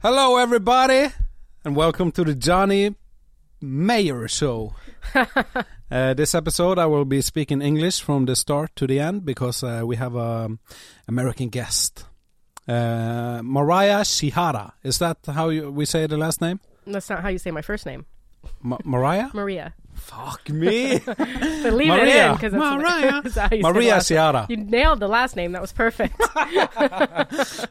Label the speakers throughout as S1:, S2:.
S1: Hello, everybody, and welcome to the Johnny Mayer Show. uh, this episode, I will be speaking English from the start to the end because uh, we have a American guest, uh, Mariah Shihara. Is that how you, we say the last name?
S2: That's not how you say my first name,
S1: Ma- Mariah?
S2: Maria.
S1: Fuck me,
S2: So leave it in
S1: Maria.
S2: because
S1: Mariah.
S2: that's how you say the
S1: Maria
S2: last-
S1: Shihara.
S2: You nailed the last name. That was perfect.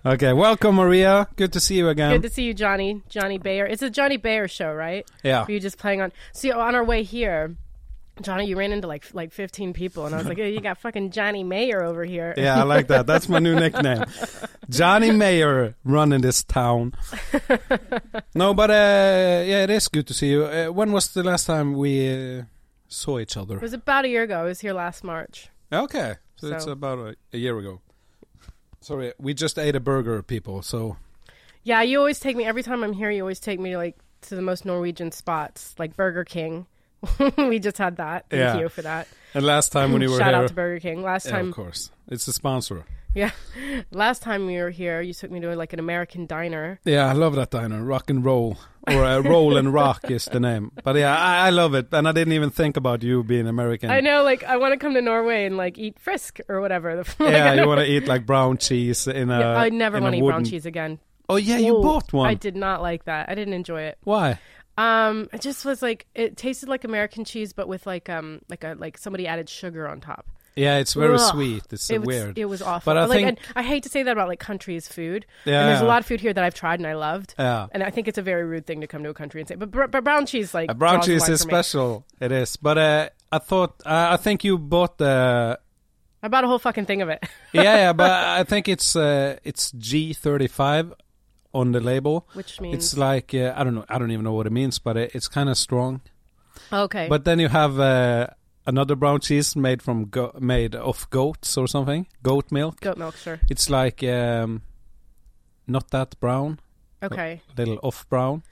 S1: Okay, welcome, Maria. Good to see you again.
S2: Good to see you, Johnny. Johnny Bayer. It's a Johnny Bayer show, right?
S1: yeah.
S2: Were you just playing on? See, on our way here, Johnny, you ran into like like fifteen people, and I was like, hey, you got fucking Johnny Mayer over here.
S1: Yeah, I like that. That's my new nickname. Johnny Mayer running this town. no, but uh, yeah, it is good to see you. Uh, when was the last time we uh, saw each
S2: It
S1: other?
S2: was about a year ago. I was here last March.
S1: Okay, so, it's
S2: So-
S1: about a, a year ago. Sorry, we just ate a burger, people. So
S2: Yeah, you always take me every time I'm here. You always take me like to the most Norwegian spots, like Burger King. we just had that. Thank
S1: Yeah.
S2: you for that.
S1: and last time when you were
S2: Shout
S1: here,
S2: out to Burger King. Last
S1: yeah,
S2: time
S1: of course, it's a sponsor.
S2: Yeah. Last time we were here, you took me to like an American diner.
S1: Yeah, I love that diner, Rock and Roll, or uh, Roll and Rock is the name. But yeah, I, I love it, and I didn't even think about you being American.
S2: I know, like, I want to come to Norway and like eat frisk or whatever. Like,
S1: Yeah,
S2: I
S1: you
S2: don't-
S1: want to eat like brown cheese in a.
S2: Yeah, I never
S1: in a
S2: want to eat
S1: wooden...
S2: brown cheese again.
S1: Oh yeah, you
S2: Ooh,
S1: bought one.
S2: I did not like that. I didn't enjoy it.
S1: Why?
S2: Um, it just was like it tasted like American cheese, but with like um like a like somebody added sugar on top.
S1: Yeah, it's very
S2: Ugh.
S1: sweet. It's
S2: it was
S1: weird.
S2: it was awful.
S1: But I
S2: like,
S1: think-
S2: and I hate to say that about like countries' food.
S1: Yeah. Uh,
S2: And there's a lot of food here that I've tried and I loved.
S1: Yeah.
S2: And I think it's a very rude thing to come to a country and say, but, br- but brown cheese like
S1: Uh, brown
S2: draws the
S1: cheese
S2: line
S1: is
S2: for me.
S1: special. It is, but uh, I thought uh, I think you bought the.
S2: I bought a whole fucking thing of it.
S1: yeah, yeah, but I think it's uh, it's G thirty five on the label.
S2: Which means
S1: It's like uh, I don't know. I don't even know what it means, but it, it's kind of strong.
S2: okay.
S1: But then you have uh, another brown cheese made from go- made of goats or something, goat milk.
S2: goat milk, sure.
S1: It's like um, not that brown,
S2: Okay,
S1: little off brown,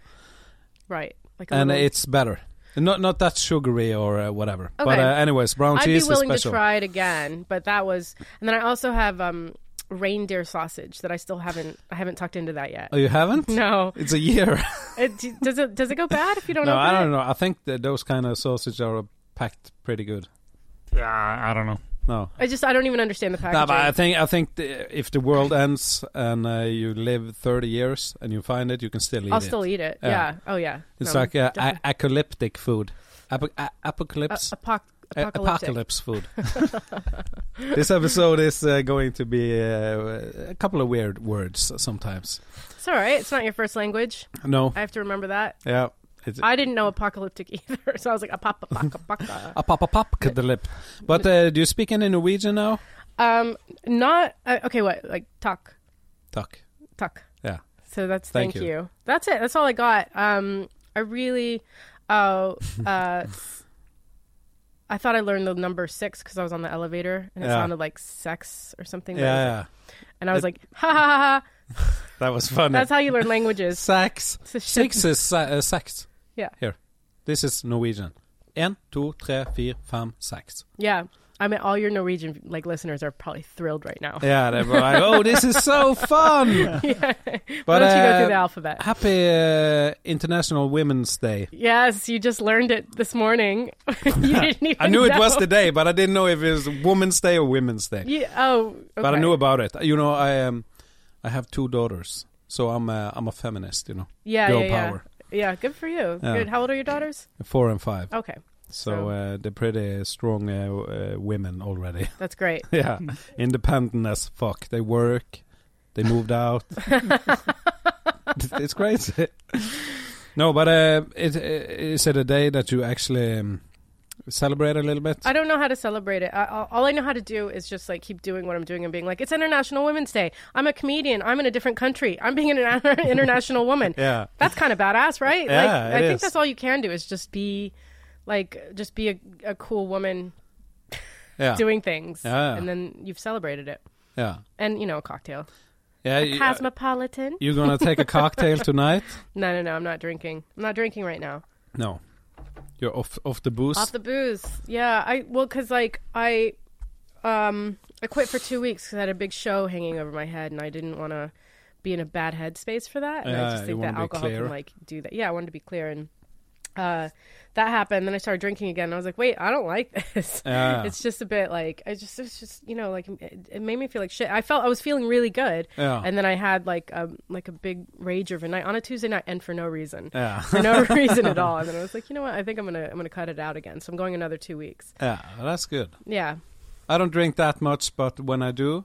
S2: right. Like a
S1: and
S2: little-
S1: it's better. Not not that sugary or uh, whatever. But
S2: Okay.
S1: uh, anyways, brown
S2: I'd be
S1: cheese
S2: willing
S1: is special.
S2: to try it again, but that was. And then I also have um, reindeer sausage that I still haven't. I haven't tucked into that yet.
S1: Oh, you haven't?
S2: No,
S1: It's a year.
S2: it, d- does it does it go bad if you don't?
S1: no,
S2: open
S1: I don't
S2: it?
S1: know. I think that those kind of sausage are packed pretty good.
S3: Yeah, I don't know.
S1: No.
S2: I just I don't even understand the packaging.
S1: No, but I think I think the, if the world ends and uh, you live 30 years and you find it, you can still eat
S2: I'll
S1: it.
S2: still eat it.
S1: Yeah.
S2: Yeah. Oh yeah.
S1: it's
S2: No,
S1: like uh, a-
S2: definitely.
S1: apocalyptic food. Apo- a-
S2: A-
S1: apocalypse.
S2: apoc-
S1: A-
S2: apocalyptic.
S1: apocalypse food. this episode is uh, going to be uh, a couple of weird words sometimes.
S2: It's all right. It's not your first language.
S1: No,
S2: I have to remember that.
S1: yeah, it's
S2: I didn't know apocalyptic either, so I was like apop apocalyptic.
S1: apocalypse. But uh, do you speak any Norwegian now?
S2: um, not uh, okay. What like talk?
S1: Tuck.
S2: Tuck.
S1: Yeah.
S2: So that's
S1: Thank
S2: thank,
S1: you.
S2: you. That's it. That's all I got. Um, I really, oh, uh, I thought I learned the number six because I was on the elevator and it
S1: Yeah.
S2: sounded like sex or something.
S1: Yeah,
S2: but it was-
S1: yeah.
S2: And I was like, ha ha ha. ha.
S1: that was funny.
S2: That's how you learn languages.
S1: sex.
S2: It's a shit-
S1: Six is se- uh, sex.
S2: Yeah.
S1: Here, this is Norwegian. En, to, tre, fire, fem, sex.
S2: Yeah. I mean, all your Norwegian like listeners are probably thrilled right now.
S1: Yeah, they were like, "Oh, this is so fun!"
S2: Why
S1: But
S2: don't you go
S1: uh,
S2: through the alphabet?
S1: happy uh, International Women's Day.
S2: Yes, you just learned it this morning. you didn't even
S1: I knew it was
S2: know.
S1: the day, but I didn't know if it was Women's Day or Women's Day.
S2: You, oh,
S1: But I
S2: okay.
S1: knew about it. You know, I um, I have two daughters, so I'm a, I'm a feminist. You know,
S2: yeah,
S1: girl
S2: yeah, yeah.
S1: power.
S2: Yeah, good for you.
S1: Yeah.
S2: Good. How old are your daughters?
S1: Four and five,
S2: Okay,
S1: so,
S2: so-
S1: uh, they're pretty strong uh, w- uh, women already.
S2: that's great.
S1: yeah, independent as fuck. They work. They moved out. it's crazy. no, but uh, it, is it a day that you actually um, celebrate a little bit?
S2: I don't know how to celebrate it. I, all- all I know how to do is just like keep doing what I'm doing and being like, it's International Women's Day. I'm a comedian. I'm in a different country. I'm being an international woman.
S1: yeah.
S2: That's kind of badass, right?
S1: Yeah,
S2: like,
S1: it
S2: I
S1: is.
S2: think that's all you can do is just be like, just be a, a cool woman
S1: Yeah.
S2: doing things.
S1: Yeah.
S2: And then you've celebrated it.
S1: yeah.
S2: And, you know, a cocktail.
S1: Yeah. you-
S2: Cosmopolitan.
S1: You're gonna take a cocktail tonight?
S2: No, no, no. I'm not drinking. I'm not drinking right now.
S1: No, you're off off the booze.
S2: off the booze yeah i well because like i um i quit for two weeks because i had a big show hanging over my head and i didn't want to be in a bad headspace for that. And
S1: Yeah,
S2: I just
S1: you
S2: think
S1: wanna
S2: that
S1: be
S2: alcohol
S1: clear.
S2: can like do that. Yeah, I wanted to be clear and uh that happened. Then I started drinking again. And I was like, wait, I don't like this.
S1: Yeah.
S2: It's just a bit like I just it's just you know like it, it made me feel like shit. I felt I was feeling really good,
S1: Yeah.
S2: and then I had like um like a big rage overnight on a Tuesday night and for no reason,
S1: yeah.
S2: for no reason at all. And then I was like, you know what? I think I'm gonna I'm gonna cut it out again. So I'm going another two weeks.
S1: yeah, that's good.
S2: Yeah,
S1: I don't drink that much, but when I do,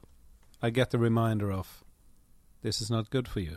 S1: I get the reminder of this is not good for you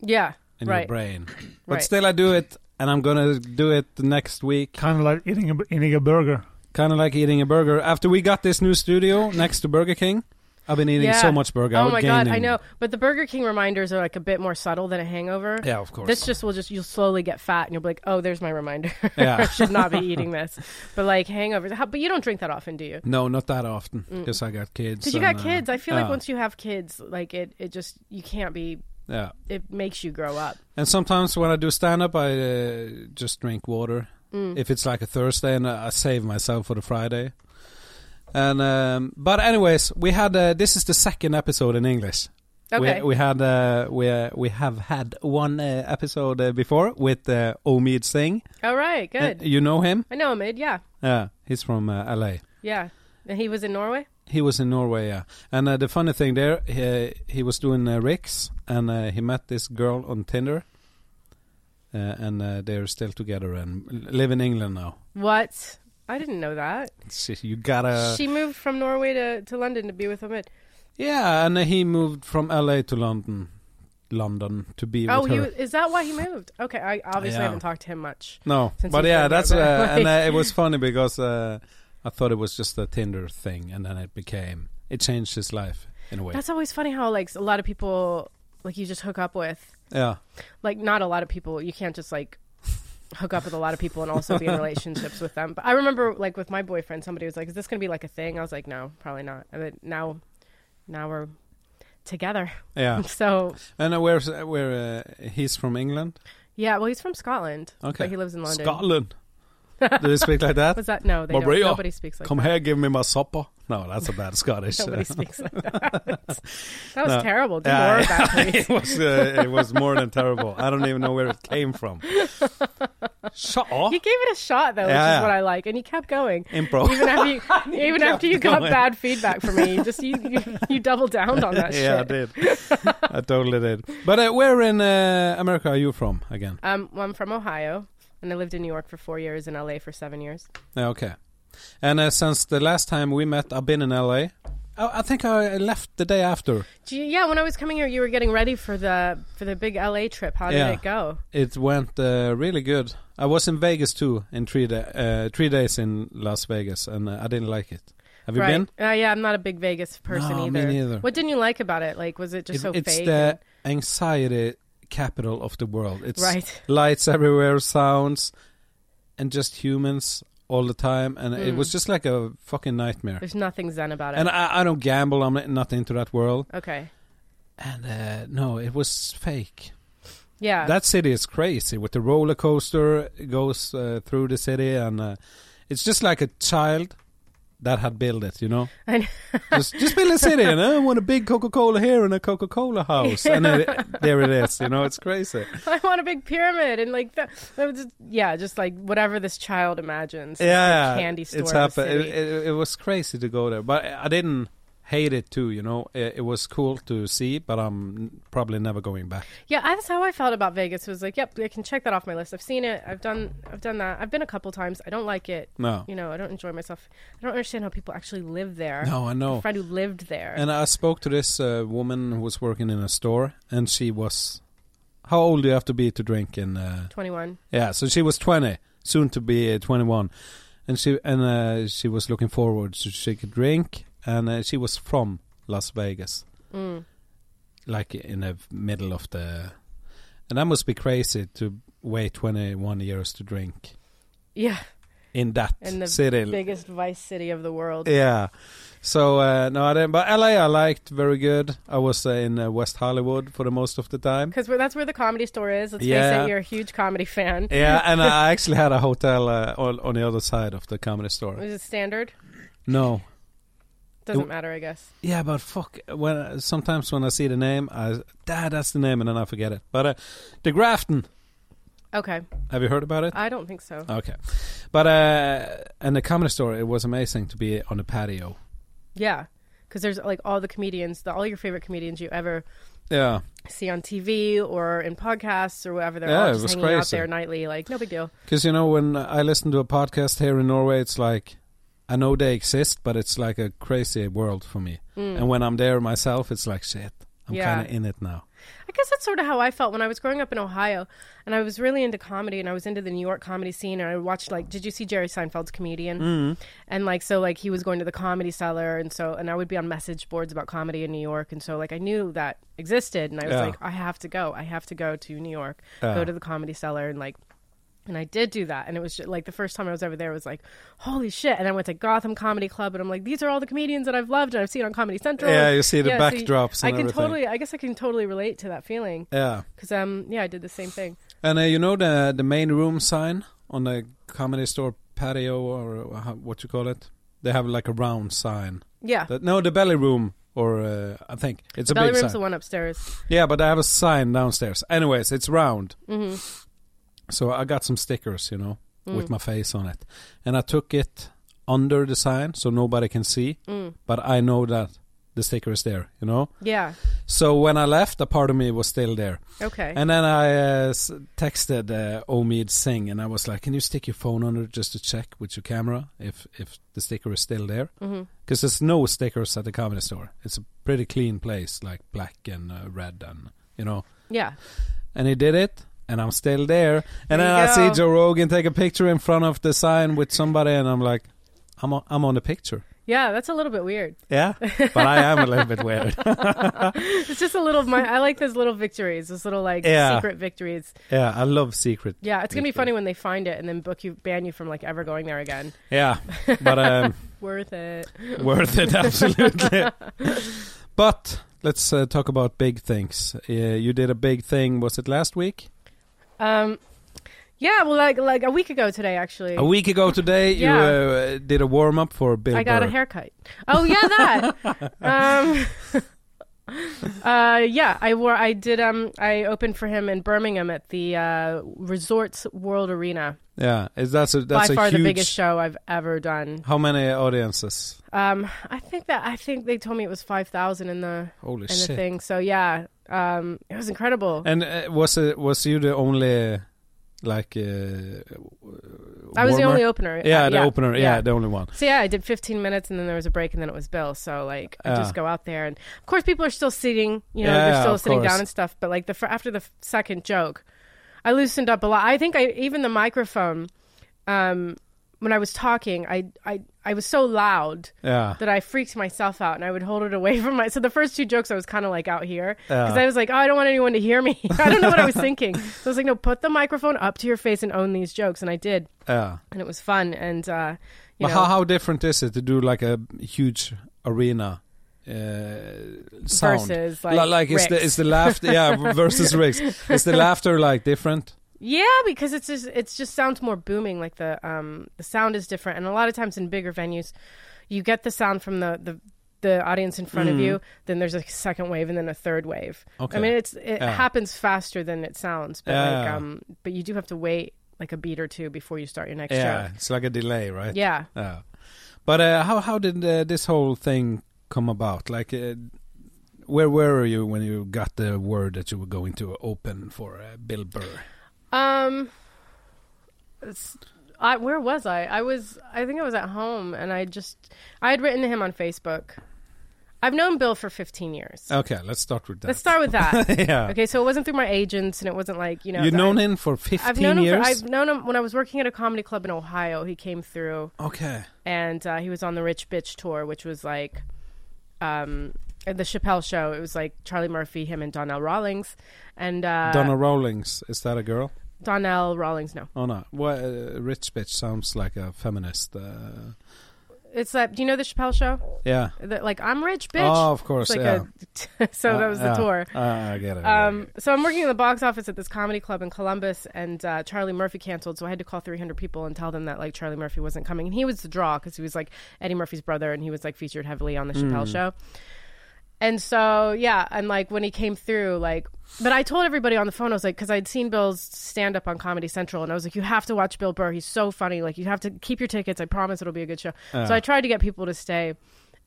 S2: yeah,
S1: in your
S2: right,
S1: brain. But
S2: right.
S1: still, I do it, and I'm gonna do it the next week.
S3: Kind of like eating a, eating a burger.
S1: Kind of like eating a burger. After we got this new studio next to Burger King, I've been eating
S2: Yeah.
S1: so much burger. I
S2: Oh
S1: was
S2: my god, I
S1: gaining-
S2: know. But the Burger King reminders are like a bit more subtle than a hangover.
S1: Yeah, of course.
S2: This just will just you'll slowly get fat and you'll be like, oh, there's my reminder.
S1: Yeah.
S2: I should not be eating this. But like hangovers, how, but you don't drink that often, do you?
S1: no, not that often because I got kids.
S2: Mm. Because you
S1: and,
S2: got
S1: uh,
S2: kids. I feel
S1: yeah,
S2: like once you have kids, like it, it just you can't be.
S1: yeah.
S2: It makes you grow up.
S1: And sometimes when I do stand up, I uh, just drink water.
S2: Mm-hmm. Mm.
S1: If it's like a Thursday, and I I save myself for the Friday. And um, but anyways, we had uh, this is the second episode in English.
S2: Okay.
S1: We, we had uh, we uh, we have had one uh, episode uh, before with uh, Omid Singh.
S2: All right. Good.
S1: Uh, you know him?
S2: I know Amid. Yeah.
S1: Yeah, he's from uh, LA.
S2: Yeah. And he was in Norway.
S1: He was in Norway, yeah. And uh, the funny thing there, he, he was doing uh, Rick's, and uh, he met this girl on Tinder, uh, and uh, they're still together and l- live in England now.
S2: What? I didn't know that.
S1: She, you gotta,
S2: she moved from Norway to, to London to be with Amid.
S1: yeah. And he moved from LA to London, London to be
S2: Oh,
S1: with
S2: he
S1: her.
S2: was, is that why he moved? Okay, I obviously
S1: Yeah.
S2: haven't talked to him much.
S1: no,
S2: Since
S1: but
S2: he's
S1: yeah,
S2: from
S1: that's uh,
S2: there, but
S1: and uh,
S2: like-
S1: it was funny because uh, I thought it was just a Tinder thing, and then it became it changed his life in a way.
S2: That's always funny how like a lot of people like you just hook up with
S1: yeah,
S2: like not a lot of people. You can't just like hook up with a lot of people and also be in relationships with them. But I remember like with my boyfriend, somebody was like, "Is this gonna be like a thing?" I was like, "No, probably not." And then now, now we're together.
S1: yeah.
S2: So
S1: and uh, where's uh, where uh, he's from England?
S2: yeah, well, he's from Scotland.
S1: Okay.
S2: but he lives in London.
S1: Scotland. Do they speak like that?
S2: Was that no? They
S1: Maria,
S2: don't. Nobody speaks like
S1: Come
S2: that.
S1: here, give me my supper. No, that's a bad Scottish.
S2: Nobody speaks like that. that was
S1: No.
S2: terrible. Do
S1: Yeah,
S2: more of that, please.
S1: it was uh, it was more than terrible. I don't even know where it came from. Shut up.
S2: He gave it a shot though, which
S1: Yeah.
S2: is what I like, and he kept going.
S1: Improv.
S2: Even after you, even after you got
S1: going.
S2: bad feedback from me, you just you you, you doubled down on that
S1: yeah, I
S2: shit.
S1: did. I totally did. But uh, where in uh, America are you from again?
S2: Um, well, I'm from Ohio, and I lived in New York for four years, in LA for seven years.
S1: Yeah, okay. And uh, since the last time we met, I've been in LA. I, I think I left the day after.
S2: Do you- yeah, when I was coming here, you were getting ready for the for the big LA trip. How did
S1: Yeah.
S2: it go?
S1: It went uh, really good. I was in Vegas too in three da uh, three days in Las Vegas, and uh, I didn't like it. Have you
S2: right?
S1: been?
S2: Uh, yeah, I'm not a big Vegas person
S1: No,
S2: either.
S1: me neither.
S2: What didn't you like about it? Like, was it just
S1: It-
S2: so
S1: it's
S2: fake?
S1: the anxiety capital of the world. It's
S2: Right.
S1: lights everywhere, sounds, and just humans all the time. And it was just like a fucking nightmare.
S2: There's nothing zen about Hmm.
S1: And
S2: it.
S1: I, I don't gamble. I'm not into that world.
S2: okay.
S1: And uh, no, it was fake.
S2: Yeah.
S1: that city is crazy with the roller coaster it goes uh, through the city and uh, it's just like a child that had built it you know
S2: I know.
S1: just, just build a city and i want a big coca-cola here and a coca-cola house and it, there it is you know it's crazy
S2: I want a big pyramid and like the, that was just, yeah, just like whatever this child imagines.
S1: yeah
S2: like candy store.
S1: it's
S2: in the
S1: happened it,
S2: city.
S1: it, it was crazy to go there but i didn't hate it too you know it, it was cool to see but i'm probably never going back
S2: yeah, I- that's how I felt about Vegas. Was like, yep, I can check that off my list. I've seen it. I've done. I've done that. I've been a couple times. I don't like it.
S1: no
S2: You know, I don't enjoy myself. I don't understand how people actually live there.
S1: no i know
S2: A friend who lived there.
S1: And I spoke to this uh, woman who was working in a store, and she was, how old do you have to be to drink? And uh,
S2: Twenty-one.
S1: yeah, so she was twenty, soon to be uh, twenty-one, and she and uh, she was looking forward to she could drink, and uh, she was from Las Vegas,
S2: Mm.
S1: like in the middle of the, and that must be crazy to wait twenty-one years to drink
S2: Yeah,
S1: in that
S2: In the
S1: city.
S2: biggest vice city of the world.
S1: Yeah. So uh, no, I didn't. But LA, I liked very good. I was uh, in uh, West Hollywood for the most of the time.
S2: Because that's where the comedy store is. Let's
S1: Yeah.
S2: face it, you're a huge comedy fan.
S1: Yeah, and I actually had a hotel uh, on, on the other side of the comedy store.
S2: Is it standard?
S1: No,
S2: Doesn't
S1: It-
S2: matter, I guess.
S1: Yeah, but fuck. When sometimes when I see the name, I ah, that's the name, and then I forget it. But uh, the Grafton.
S2: Okay,
S1: Have you heard about it?
S2: I don't think so.
S1: Okay, but uh, in the comedy store, it was amazing to be on the patio.
S2: Yeah, because there's like all the comedians, the, all your favorite comedians you ever
S1: Yeah,
S2: see on TV or in podcasts or whatever. They're
S1: Yeah,
S2: all
S1: it
S2: just
S1: was
S2: hanging out
S1: crazy.
S2: there nightly. Like no big deal.
S1: because you know when I listen to a podcast here in Norway, it's like I know they exist, but it's like a crazy world for me. And when I'm there myself, it's like shit. I'm
S2: Mm. Yeah.
S1: kind of in it now.
S2: I guess that's sort of how I felt when I was growing up in Ohio, and I was really into comedy, and I was into the New York comedy scene, and I watched like, did you see Jerry Seinfeld's comedian? Mm.
S1: Mm-hmm.
S2: And like, so like he was going to the Comedy Cellar, and so and I would be on message boards about comedy in New York, and so like I knew that existed, and I was
S1: Yeah.
S2: like, I have to go, I have to go to New York,
S1: Yeah.
S2: go to the Comedy Cellar, and like. And I did do that, and it was just, like the first time I was ever there was like, holy shit! And I went to Gotham Comedy Club, and I'm like, these are all the comedians that I've loved and I've seen on Comedy Central.
S1: Yeah,
S2: and-
S1: you see the
S2: so you-
S1: backdrops
S2: I
S1: and
S2: can
S1: everything.
S2: totally, I guess I can totally relate to that feeling.
S1: Yeah,
S2: Because um yeah, I did the same thing.
S1: and uh, you know the the main room sign on the comedy store patio or uh, how- what you call it? They have like a round sign.
S2: Yeah.
S1: The- no, the belly room, or uh, I think it's a
S2: The belly
S1: big
S2: room's
S1: sign.
S2: the one upstairs.
S1: Yeah, but I have a sign downstairs. Anyways, it's round,
S2: hmm
S1: so I got some stickers, you know,
S2: Mm.
S1: with my face on it, and I took it under the sign so nobody can see,
S2: Mm.
S1: but I know that the sticker is there, you know.
S2: Yeah.
S1: So when I left, a part of me was still there,
S2: Okay.
S1: and then I uh, s- texted uh, Omid Singh, and I was like, "Can you stick your phone under just to check with your camera if if the sticker is still there?"
S2: hmm
S1: Because there's no stickers at the comedy store. It's a pretty clean place, like black and uh, red, and you know.
S2: Yeah.
S1: And he did it, and I'm still there. And
S2: There
S1: then I
S2: you
S1: see
S2: go.
S1: Joe Rogan take a picture in front of the sign with somebody, and I'm like, I'm on, I'm on the picture.
S2: Yeah, that's a little bit weird.
S1: Yeah, but I am a little bit weird.
S2: It's just a little. My, I like those little victories, those little like
S1: Yeah.
S2: secret victories.
S1: yeah, I love secret.
S2: Yeah, it's gonna be
S1: Victory.
S2: funny when they find it and then book you, ban you from like ever going there again.
S1: Yeah, but um,
S2: Worth it.
S1: worth it absolutely. but let's uh, talk about big things. Uh, you did a big thing. Was it last week?
S2: Um, yeah. Well, like like a week ago today, actually.
S1: A week ago today,
S2: Yeah.
S1: you uh, did a warm up for Bill.
S2: I got
S1: Burr.
S2: a haircut. Oh yeah, that. um, uh, yeah, I wore. I did. Um, I opened for him in Birmingham at the uh, Resorts World Arena.
S1: Yeah, is that's a that's
S2: By
S1: a
S2: far
S1: huge.
S2: the biggest show I've ever done.
S1: How many audiences?
S2: Um, I think that I think they told me it was five thousand in the
S1: Holy
S2: in the
S1: shit!
S2: thing. So yeah, um, it was incredible.
S1: And uh, was it was you the only like? Uh,
S2: I was the
S1: warmer?
S2: only opener.
S1: Yeah,
S2: Uh,
S1: the opener. Yeah, the only one.
S2: So yeah, I did 15 minutes, and then there was a break, and then it was Bill. So like, I
S1: Yeah.
S2: just go out there, and of course, people are still sitting. You know,
S1: Ah. Yeah,
S2: they're still
S1: of
S2: sitting
S1: course.
S2: down and stuff. But like the fir- after the f- second joke, I loosened up a lot. I think I even the microphone. Um, when I was talking, I I I was so loud
S1: Yeah,
S2: that I freaked myself out, and I would hold it away from my. So the first two jokes, I was kind of like out here because
S1: Yeah.
S2: I was like, oh, I don't want anyone to hear me. I don't know what I was thinking. So I was like, no, put the microphone up to your face and own these jokes, and I did,
S1: yeah.
S2: and it was fun. And uh, you
S1: But
S2: know,
S1: how how different is it to do like a huge arena? Uh, sound
S2: Versus,
S1: Li-
S2: like,
S1: is the
S2: Rick's.
S1: is the laughter yeah versus Rick's is the laughter like different
S2: Yeah, because it's just it's just sounds more booming. Like the um the sound is different, and a lot of times in bigger venues, you get the sound from the the the audience in front of you. Then there's a second wave, and then a third wave.
S1: Mm-hmm. Okay.
S2: I mean, it's it
S1: Yeah.
S2: happens faster than it sounds, but like
S1: Yeah.
S2: um, but you do have to wait like a beat or two before you start your next
S1: yeah
S2: show.
S1: it's like a delay right
S2: Yeah.
S1: Yeah, but uh, how how did uh, this whole thing come about? Like, uh, where were you when you got the word that you were going to open for uh, Bill Burr?
S2: Um, it's- I, where was I? I was, I think I was at home, and I just, I had written to him on Facebook. I've known Bill for 15 years.
S1: Okay, let's start with that.
S2: Let's start with that.
S1: yeah,
S2: okay, so it wasn't through my agents, and it wasn't like you know.
S1: you've
S2: I-
S1: known him for 15
S2: I've known him.
S1: years.
S2: For, I've known him when I was working at a comedy club in Ohio. He came through,
S1: Okay,
S2: and uh, he was on the Rich Bitch tour, which was like, um, at the Chappelle show. It was like Charlie Murphy, him, and Donnell Rawlings, and uh,
S1: Donna Rawlings is that a girl?
S2: Donnell Rawlings. No,
S1: Oh no, well, uh, rich bitch sounds like a feminist. Uh,
S2: It's that. Do you know the Chappelle show?
S1: Yeah.
S2: The, like I'm rich, bitch.
S1: Oh, of course.
S2: It's like
S1: yeah.
S2: a, so that
S1: Uh,
S2: was the
S1: yeah.
S2: tour.
S1: Uh, I get it. I get
S2: Um, so I'm working in the box office at this comedy club in Columbus, and uh, Charlie Murphy canceled. So I had to call 300 people and tell them that like Charlie Murphy wasn't coming, and he was the draw because he was like Eddie Murphy's brother, and he was like featured heavily on the Chappelle
S1: Hmm.
S2: Show. And so yeah, and like when he came through, like, but I told everybody on the phone I was like, because I'd seen Bill's stand up on Comedy Central, and I was like, you have to watch Bill Burr. He's so funny. Like you have to keep your tickets. I promise it'll be a good show. So I tried to get people to stay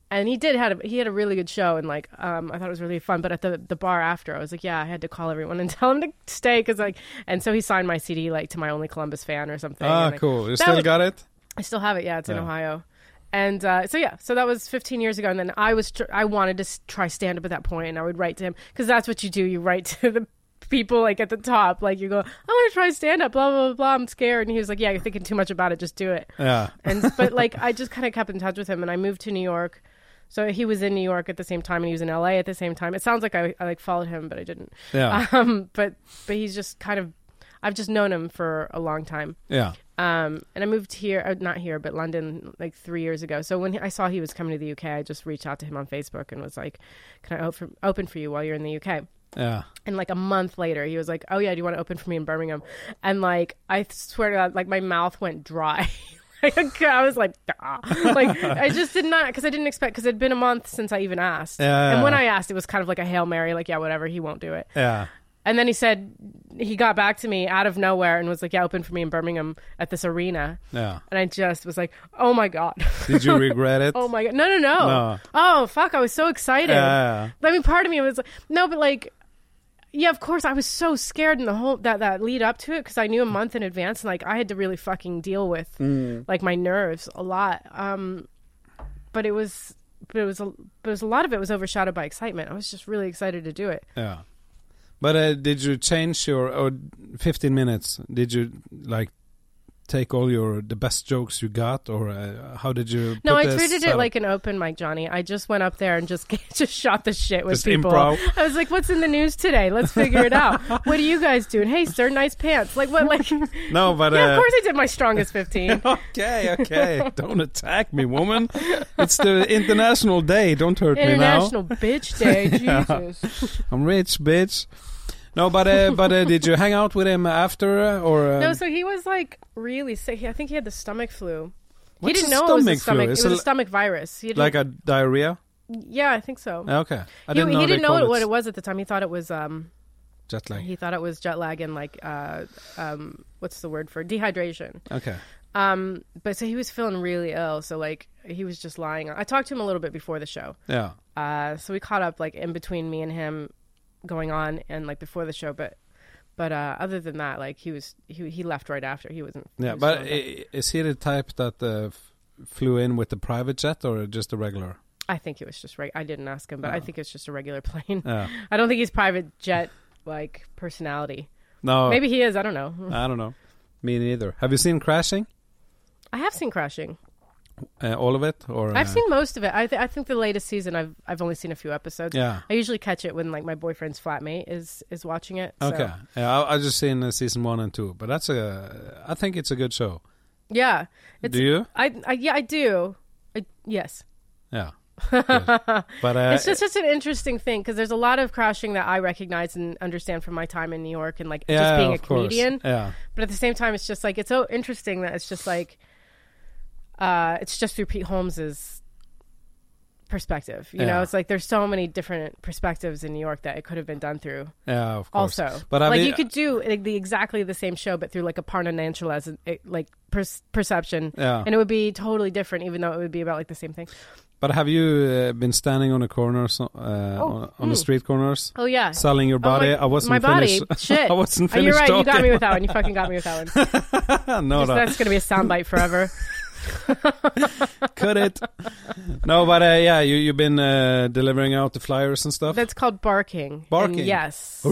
S2: and he did had a, he had a really good show and like um I thought it was really fun. But at the the bar after, I was like, yeah, I had to call everyone and tell him to stay because like and so he signed my CD like to my only Columbus fan or something.
S1: it. Ah,
S2: and, like,
S1: cool. You
S2: that
S1: still
S2: was-
S1: got it?
S2: I still have it. Yeah, it's in
S1: Yeah.
S2: Ohio. And uh, so yeah, so that was 15 years ago, and then I was tr- I wanted to s- try stand up at that point, and I would write to him because that's what you do. You write to the people like at the top, like you go, I want to try stand up, blah blah blah. blah. I'm scared, and he was like, Yeah, you're thinking too much about it. Just do it
S1: Yeah.
S2: and but like I just kind of kept in touch with him, and I moved to New York. So he was in New York at the same time, and he was in LA at the same time. It sounds like I, I like followed him, but I didn't.
S1: Yeah.
S2: Um, but but he's just kind of, I've just known him for a long time.
S1: Yeah.
S2: Um, and I moved here, uh, not here, but London, like three years ago. So when he- I saw he was coming to the UK, I just reached out to him on Facebook and was like, "Can I open open for you while you're in the UK?"
S1: Yeah.
S2: And like a month later, he was like, "Oh yeah, do you want to open for me in Birmingham?" And like, I swear to God, like my mouth went dry. like, I was like, "Ah." like I just did not because I didn't expect because it'd been a month since I even asked.
S1: Yeah.
S2: And when I asked, it was kind of like a hail mary, like yeah, whatever, he won't do it.
S1: Yeah.
S2: And then he said he got back to me out of nowhere and was like, "Yeah, open for me in Birmingham at this arena."
S1: Yeah.
S2: And I just was like, "Oh my god,
S1: Did you regret it?
S2: oh my god, no, no, no,
S1: No. Uh,
S2: oh fuck!" I was so excited.
S1: yeah.
S2: I mean, part of me was like, no, but like, yeah, of course, I was so scared in the whole that that lead up to it because I knew a month in advance, and like I had to really fucking deal with
S1: Hmm.
S2: like my nerves a lot. Um, but it was, but it was, a, but it was a lot of it was overshadowed by excitement. I was just really excited to do it.
S1: Yeah. But uh, did you change your or 15 minutes? Did you like take all your the best jokes you got or uh, how did you
S2: No,
S1: put
S2: I
S1: this
S2: treated it
S1: setup?
S2: like an open mic, Johnny. I just went up there and just just shot the shit with
S1: Just
S2: people.
S1: improv.
S2: I was like, "What's in the news today? Let's figure it out. what are you guys doing? Hey, sir, nice pants. Like what? Like
S1: No, but
S2: yeah,
S1: uh,
S2: of course I did my strongest fifteen.
S1: Okay, okay. Don't attack me, woman. It's the international day. Don't hurt me now.
S2: International Bitch Day. Jesus.
S1: I'm rich, bitch. No, but uh, but uh, did you hang out with him after uh, or uh,
S2: No, so he was like really sick. He- I think he had the stomach flu. He
S1: What's
S2: didn't
S1: a
S2: know it was a
S1: stomach flu?
S2: stomach.
S1: Is
S2: it was
S1: it
S2: a stomach virus. He didn't,
S1: like a diarrhea?
S2: yeah, I think so.
S1: Okay, I
S2: he
S1: didn't
S2: he
S1: know they
S2: didn't know
S1: called
S2: what it was at the time. He thought it was um
S1: Jet lag.
S2: he thought it was jet lag and like uh um what's the word for dehydration.
S1: Okay,
S2: Um, but so he was feeling really ill. So like he was just lying. I talked to him a little bit before the show.
S1: yeah,
S2: Uh, so we caught up like in between me and him going on and like before the show, but but uh, other than that, like he was he he left right after he wasn't. he
S1: yeah.
S2: was
S1: But
S2: gone.
S1: i is he the type that uh, f- flew in with the private jet or just a regular?
S2: I think it was just right. I didn't ask him, but I
S1: Uh-huh.
S2: think it's just a regular plane.
S1: Yeah.
S2: I don't think he's private jet like personality.
S1: No,
S2: Maybe he is. I don't know.
S1: I don't know. Me neither. Have you seen Crashing?
S2: I have seen Crashing.
S1: Uh, all of it, or
S2: I've
S1: uh,
S2: seen most of it. I th- I think the latest season. I've I've only seen a few episodes.
S1: Yeah.
S2: I usually catch it when like my boyfriend's flatmate is is watching it. so-
S1: Okay, yeah, I, I just seen uh, season one and two, but that's a. I think it's a good show.
S2: Yeah. It's
S1: Do you?
S2: I, I yeah I do. I, yes.
S1: Yeah. Good. but uh,
S2: it's just such an interesting thing because there's a lot of crashing that I recognize and understand from my time in New York and like
S1: yeah,
S2: just being
S1: of
S2: a
S1: course. Uh,
S2: comedian.
S1: Yeah,
S2: But at the same time, it's just like it's so interesting that it's just like uh, it's just through Pete Holmes's perspective. You
S1: Yeah.
S2: know, it's like there's so many different perspectives in New York that it could have been done through.
S1: yeah, of course.
S2: Also,
S1: but I
S2: like
S1: mean,
S2: you could do like, the exactly the same show, but through like a Parna Nanchala's like per- perception,
S1: Yeah.
S2: and it would be totally different, even though it would be about like the same thing.
S1: But have you uh, been standing on a corner, so, uh, on, on the street corners,
S2: Oh yeah,
S1: selling your
S2: Oh, my-
S1: body? I wasn't
S2: my body.
S1: finished.
S2: Shit,
S1: I wasn't
S2: Oh, you're
S1: finished
S2: right. You got
S1: talking.
S2: me with that one. You fucking got me with that one.
S1: no, no,
S2: That's gonna be a soundbite forever.
S1: cut it. No, but uh, yeah, you you've been uh, delivering out the flyers and stuff.
S2: That's called barking. And
S1: Barking.
S2: yes.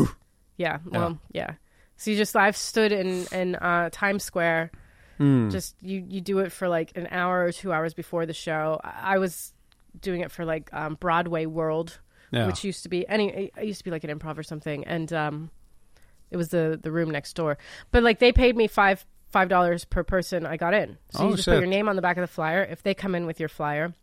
S2: Yeah. Well. Yeah. So you just I've stood in in uh, Times Square.
S1: Hmm.
S2: Just you you do it for like an hour or two hours before the show. I I was doing it for like um, Broadway World,
S1: Yeah.
S2: which used to be any it used to be like an improv or something, and um, it was the the room next door. But like they paid me five five dollars per person I got in. So
S1: Oh,
S2: you just
S1: shit.
S2: put your name on the back of the flyer. If they come in with your flyer,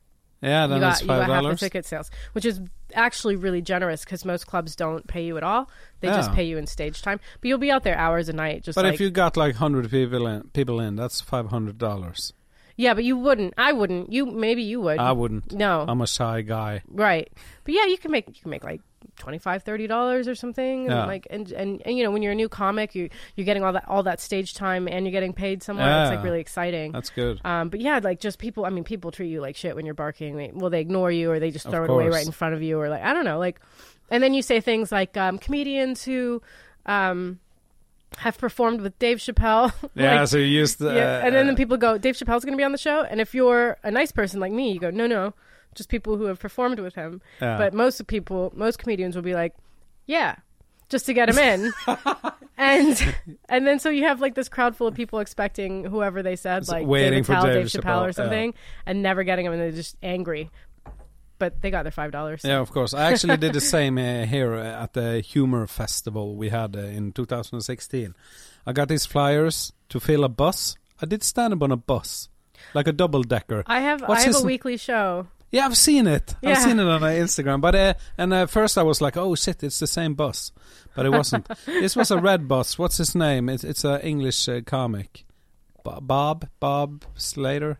S1: Yeah,
S2: you
S1: then
S2: got
S1: it's
S2: you
S1: five
S2: got half the
S1: dollars.
S2: ticket sales, which is actually really generous because most clubs don't pay you at all. They just
S1: Yeah.
S2: pay you in stage time, but you'll be out there hours a night. Just
S1: But
S2: like,
S1: if you got like hundred people in, people in, that's five hundred dollars.
S2: yeah, but you wouldn't. I wouldn't. You maybe you would.
S1: I wouldn't.
S2: no,
S1: I'm a shy guy.
S2: Right. But yeah, you can make you can make like 25 30 dollars or something
S1: Yeah.
S2: and like and, and and you know when you're a new comic you you're getting all that all that stage time and you're getting paid somewhere it's
S1: Yeah.
S2: like really exciting
S1: That's good.
S2: um but yeah like just people i mean people treat you like shit when you're barking they, well they ignore you or they just
S1: Of
S2: throw it away
S1: course.
S2: right in front of you or like i don't know like and then you say things like um comedians who um have performed with Dave Chappelle.
S1: yeah,
S2: like,
S1: so you used uh, the,
S2: yeah, and then the people go, Dave Chappelle's going to be on the show. And if you're a nice person like me, you go, no, no, just people who have performed with him.
S1: Yeah.
S2: But most people, most comedians will be like, yeah, just to get him in. and and then so you have like this crowd full of people expecting whoever they said,
S1: Just
S2: like
S1: waiting
S2: David
S1: for
S2: Tell,
S1: Dave
S2: Dave Chappelle,
S1: Chappelle, yeah.
S2: or something, and never getting him. And they're just angry. But they got their $5.
S1: Yeah, of course. I actually did the same uh, here uh, at the humor festival we had uh, in 2016. I got these flyers to fill a bus. I did stand up on a bus, like a double decker.
S2: I have
S1: What's
S2: I have
S1: his-
S2: a weekly show.
S1: Yeah, I've seen it. I've
S2: Yeah.
S1: seen it on uh, Instagram. But uh, and uh, first I was like, oh shit, it's the same bus, but it wasn't. this was a red bus. What's his name? It's it's an English uh, comic, Bo- Bob Bob Slater,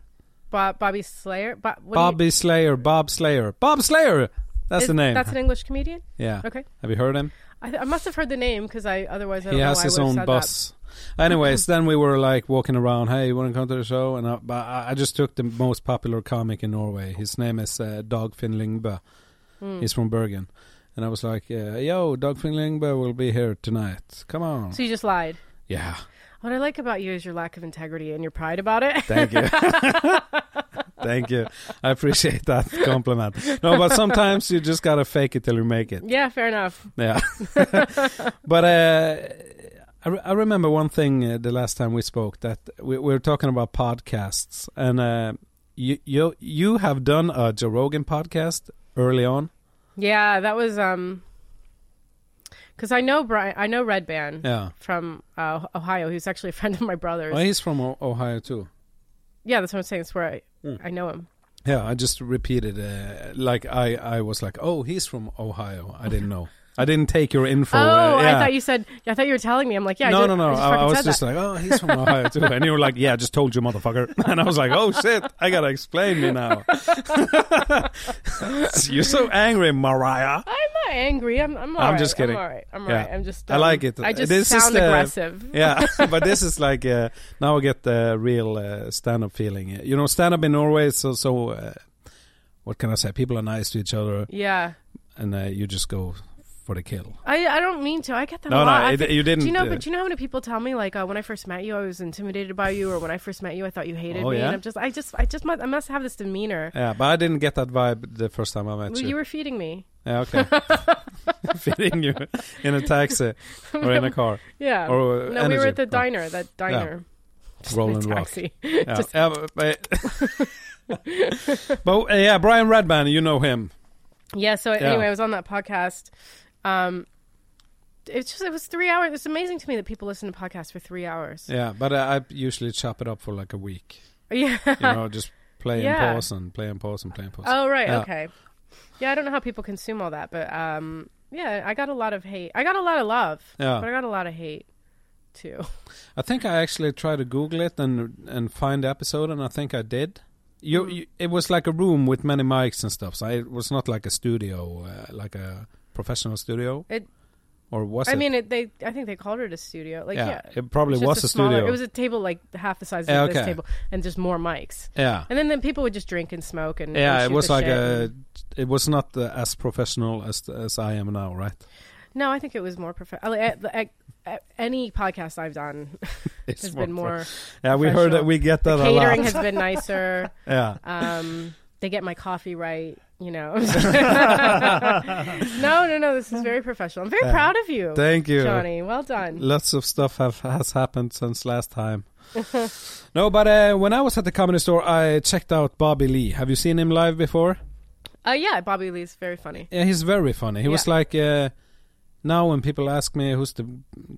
S2: Bob, Bobby Slayer. Bob, what do you-
S1: Bobby Slayer, Bob Slayer, Bob Slayer. That's
S2: is-
S1: the name.
S2: That's an English comedian.
S1: yeah.
S2: Okay.
S1: Have you heard him?
S2: I, th- I must have heard the name because I otherwise I don't
S1: he
S2: know
S1: has
S2: why I
S1: his
S2: would've
S1: own
S2: said
S1: bus. Anyways, then we were like walking around. Hey, you want to come to the show? And I, but I I just took the most popular comic in Norway. His name is uh, Dagfinn Lyngbø.
S2: That. Mm.
S1: He's from Bergen. And I was like, uh, "Yo, Dagfinn Lyngbø will be here tonight. Come on."
S2: So you just lied.
S1: yeah,
S2: What I like about you is your lack of integrity and your pride about it.
S1: thank you, thank you. I appreciate that compliment. No, but sometimes you just gotta fake it till you make it.
S2: yeah, fair enough.
S1: Yeah. but uh, I, re- I remember one thing uh, the last time we spoke that we, we were talking about podcasts, and uh, you you you have done a Joe Rogan podcast early on.
S2: Yeah, that was um, because I know Brian, I know Red Band
S1: Yeah.
S2: from uh, Ohio. He's actually a friend of my brother's.
S1: Oh, he's from o- Ohio too.
S2: yeah, that's what I'm saying. That's where I,
S1: Mm.
S2: I know him.
S1: Yeah, I just repeated uh, like I I was like, oh, he's from Ohio. I didn't know. I didn't take your info.
S2: oh,
S1: uh, yeah.
S2: I thought you said. I thought you were telling me. I'm like, yeah. I
S1: no,
S2: did-
S1: no, no,
S2: I, just
S1: I, I
S2: fucking
S1: was
S2: said
S1: just
S2: that.
S1: like, oh, he's from Ohio too. And you were like, yeah, I just told you, motherfucker. And I was like, oh, shit, I got to explain me now. You're so angry, Mariah.
S2: I'm not angry. I'm. I'm, all
S1: I'm
S2: right.
S1: just kidding.
S2: I'm all right. I'm all
S1: Yeah.
S2: right. I'm just.
S1: I like it.
S2: I just
S1: This is uh,
S2: sound
S1: the-
S2: aggressive.
S1: Yeah, but this is like, uh, now I get the real uh, stand up feeling. You know, stand up in Norway is so, so uh, what can I say? People are nice to each other,
S2: Yeah.
S1: and uh, you just go for the kill.
S2: I, I don't mean to. I get that a
S1: No,
S2: lot.
S1: no,
S2: I
S1: it,
S2: think-
S1: you didn't.
S2: do you know?
S1: uh,
S2: But do you know how many people tell me like uh, when I first met you, I was intimidated by you, or when I first met you, I thought you hated
S1: Oh,
S2: me.
S1: yeah?
S2: And I'm just, I just, I just, must, I must have this demeanor.
S1: yeah, but I didn't get that vibe the first time I met
S2: Well,
S1: you.
S2: you were feeding me.
S1: Yeah, okay. Fitting you in a taxi or in a car.
S2: Yeah.
S1: Or, uh,
S2: no, we were
S1: energy.
S2: at the
S1: Oh.
S2: diner. That diner. Just in a
S1: Roland Rock.
S2: taxi.
S1: Yeah.
S2: Just-
S1: Yeah, but, but, uh, yeah, Brian Redman, you know him.
S2: Yeah. So
S1: Yeah.
S2: anyway, I was on that podcast. Um, it's just it was three hours. It's amazing to me that people listen to podcasts for three hours.
S1: Yeah, but uh, I usually chop it up for like a week.
S2: Yeah.
S1: You know, just play
S2: Yeah.
S1: and pause and play and pause and play and pause.
S2: Oh right,
S1: Yeah.
S2: okay. Yeah, I don't know how people consume all that, but um, yeah, I got a lot of hate. I got a lot of love,
S1: Yeah.
S2: but I got a lot of hate too.
S1: I think I actually tried to Google it and and find the episode, and I think I did. You,
S2: Hmm.
S1: you it was like a room with many mics and stuff. So it was not like a studio, uh, like a professional studio.
S2: It-
S1: or was
S2: I
S1: it?
S2: mean, it, they I think they called it a studio. Like yeah,
S1: it probably
S2: It's just
S1: was a,
S2: smaller-
S1: studio.
S2: It was a table like half the size of
S1: Yeah,
S2: this
S1: okay.
S2: table, and just more mics.
S1: yeah.
S2: And then the people would just drink and smoke and and
S1: Yeah, it
S2: shoot
S1: was
S2: the
S1: like
S2: shit
S1: a.
S2: and-
S1: It was not uh, as professional as as I am now, right?
S2: No, I think it was more professional. any podcast I've done
S1: It's
S2: has been more.
S1: yeah, we heard that
S2: professional.
S1: we get that a lot.
S2: catering has been nicer.
S1: yeah,
S2: um, they get my coffee right. You know. no, no, no. This is very professional. I'm very
S1: Yeah.
S2: proud of you,
S1: thank you.
S2: Johnny. Well done.
S1: Lots of stuff have has happened since last time. no, but uh, when I was at the comedy store, I checked out Bobby Lee. Have you seen him live before?
S2: Uh, yeah, Bobby Lee's very funny.
S1: Yeah, he's very funny. He was like. Uh, now when people ask me who's the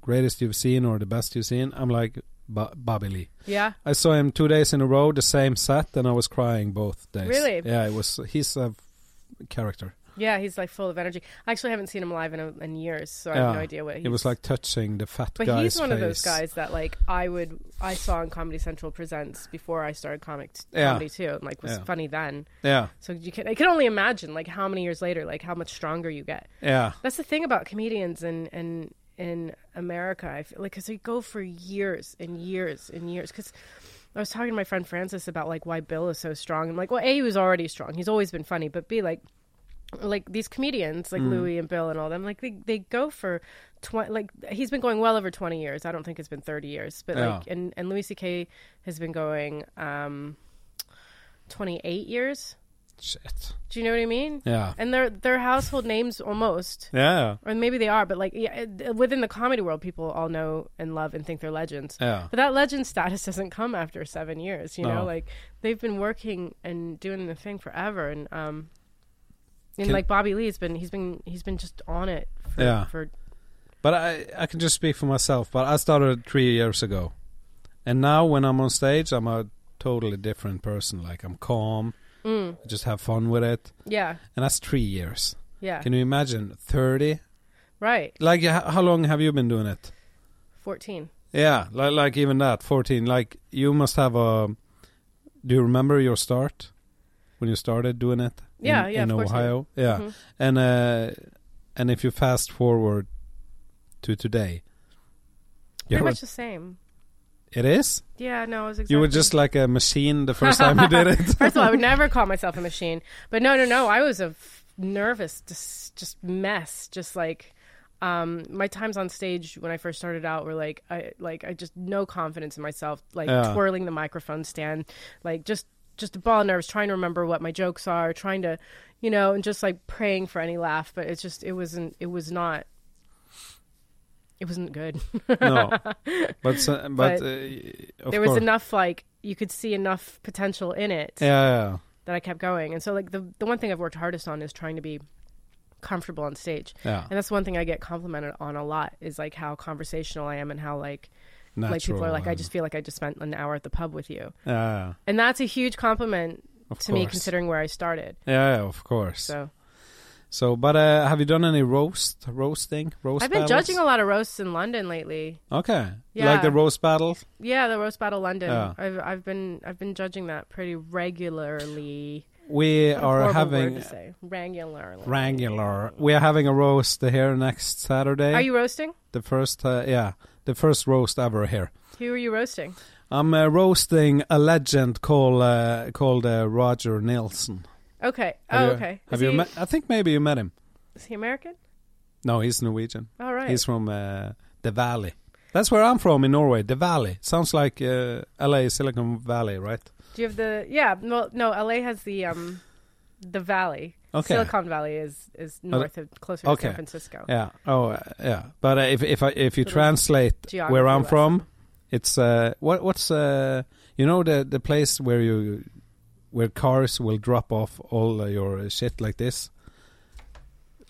S1: greatest you've seen or the best you've seen, I'm like Bo- Bobby Lee.
S2: Yeah.
S1: I saw him two days in a row, the same set, and I was crying both days.
S2: Really?
S1: Yeah, it was. He's a character.
S2: Yeah, he's like full of energy. I actually haven't seen him live in, a, in years, so I
S1: Yeah.
S2: have no idea what he's.
S1: It was like touching the fat
S2: But
S1: guy's
S2: he's one
S1: face.
S2: of those guys that like I would I saw on Comedy Central presents before I started comic
S1: Yeah.
S2: comedy too, and like was
S1: Yeah.
S2: funny then.
S1: Yeah,
S2: So you can I can only imagine like how many years later, like how much stronger you get.
S1: yeah,
S2: That's the thing about comedians and and in America, I feel like because they go for years and years and years. Because I was talking to my friend Francis about like why Bill is so strong. I'm like, well, a he was already strong. He's always been funny, but b like. Like these comedians, like Louis and Bill and all them, like they, they go for twenty. Like he's been going well over twenty years. I don't think it's been thirty years, but like
S1: Yeah.
S2: and and Louis C.K. has been going um twenty eight years.
S1: shit,
S2: Do you know what I mean?
S1: yeah,
S2: And they're they're household names almost
S1: yeah,
S2: or maybe they are, but like yeah, it- within the comedy world, people all know and love and think they're legends.
S1: yeah,
S2: But that legend status doesn't come after seven years, you know.
S1: No.
S2: Like they've been working and doing the thing forever, and um, and
S1: Can-
S2: like Bobby Lee's been he's been he's been just on it for,
S1: Yeah.
S2: for
S1: But I I can just speak for myself. But I started three years ago, and now when I'm on stage, I'm a totally different person. Like I'm calm,
S2: mm,
S1: I just have fun with it,
S2: yeah
S1: and that's three years.
S2: yeah
S1: Can you imagine thirty?
S2: right
S1: Like h- how long have you been doing it?
S2: fourteen
S1: Yeah, like like even that fourteen. Like you must have a. Do you remember your start when you started doing it? in-
S2: Yeah, yeah,
S1: in
S2: of course I do.
S1: Ohio. Yeah,
S2: Mhm.
S1: and uh, and if you fast forward to today, you
S2: pretty
S1: have a-
S2: much the same
S1: it is.
S2: yeah no it was exactly
S1: You were just like a machine the first time you did it.
S2: First of all, I would never call myself a machine. But no, no, no. I was a f- nervous, just, just mess. Just like um, my times on stage when I first started out were like, I like I just no confidence in myself. Like
S1: Yeah.
S2: twirling the microphone stand, like just just a ball of nerves, trying to remember what my jokes are, trying to, you know, and just like praying for any laugh. But it's just it wasn't it was not. It wasn't good.
S1: no, but so, but,
S2: But
S1: uh, of
S2: there
S1: course.
S2: was enough like you could see enough potential in it
S1: yeah,
S2: that I kept going. And so like the the one thing I've worked hardest on is trying to be comfortable on stage.
S1: yeah, yeah.
S2: And that's one thing I get complimented on a lot is like how conversational I am and how like
S1: Natural. uh-huh.
S2: like people are like I
S1: and-
S2: just feel like I just spent an hour at the pub with you.
S1: yeah,
S2: And that's a huge compliment
S1: of
S2: to
S1: course.
S2: me considering where I started.
S1: Yeah, yeah, of course. So,
S2: So
S1: but uh, have you done any roast roasting roast?
S2: I've been
S1: battles?
S2: judging a lot of roasts in London lately.
S1: Okay.
S2: Yeah.
S1: Like the roast battle?
S2: Yeah, the roast battle London.
S1: Yeah.
S2: I've I've been I've been judging that pretty regularly.
S1: We
S2: What a
S1: are
S2: horrible
S1: having
S2: word to say. regularly.
S1: Wrangular. We are having a roast here next Saturday.
S2: Are you roasting?
S1: the first uh, yeah, the first roast ever here.
S2: Who are you roasting?
S1: I'm uh, roasting a legend called uh, called uh, Roger Nilsson.
S2: Okay.
S1: Have
S2: oh,
S1: you-
S2: okay.
S1: Have
S2: is,
S1: you
S2: he,
S1: met I think maybe you met him.
S2: is he American?
S1: No, he's Norwegian.
S2: All right.
S1: He's from uh, the Valley. That's where I'm from in Norway, the Valley. Sounds like uh, LA Silicon Valley, right?
S2: Do you have the yeah? Well, no, LA has the um, the valley.
S1: Okay. Uh,
S2: Silicon Valley is is north of closer to
S1: okay.
S2: San Francisco.
S1: Yeah. Oh, uh, yeah. But uh, if if I, if you
S2: Little
S1: translate
S2: geography
S1: where I'm
S2: lesson.
S1: from, it's uh what what's uh you know the the place where you where cars will drop off all uh, your shit like this,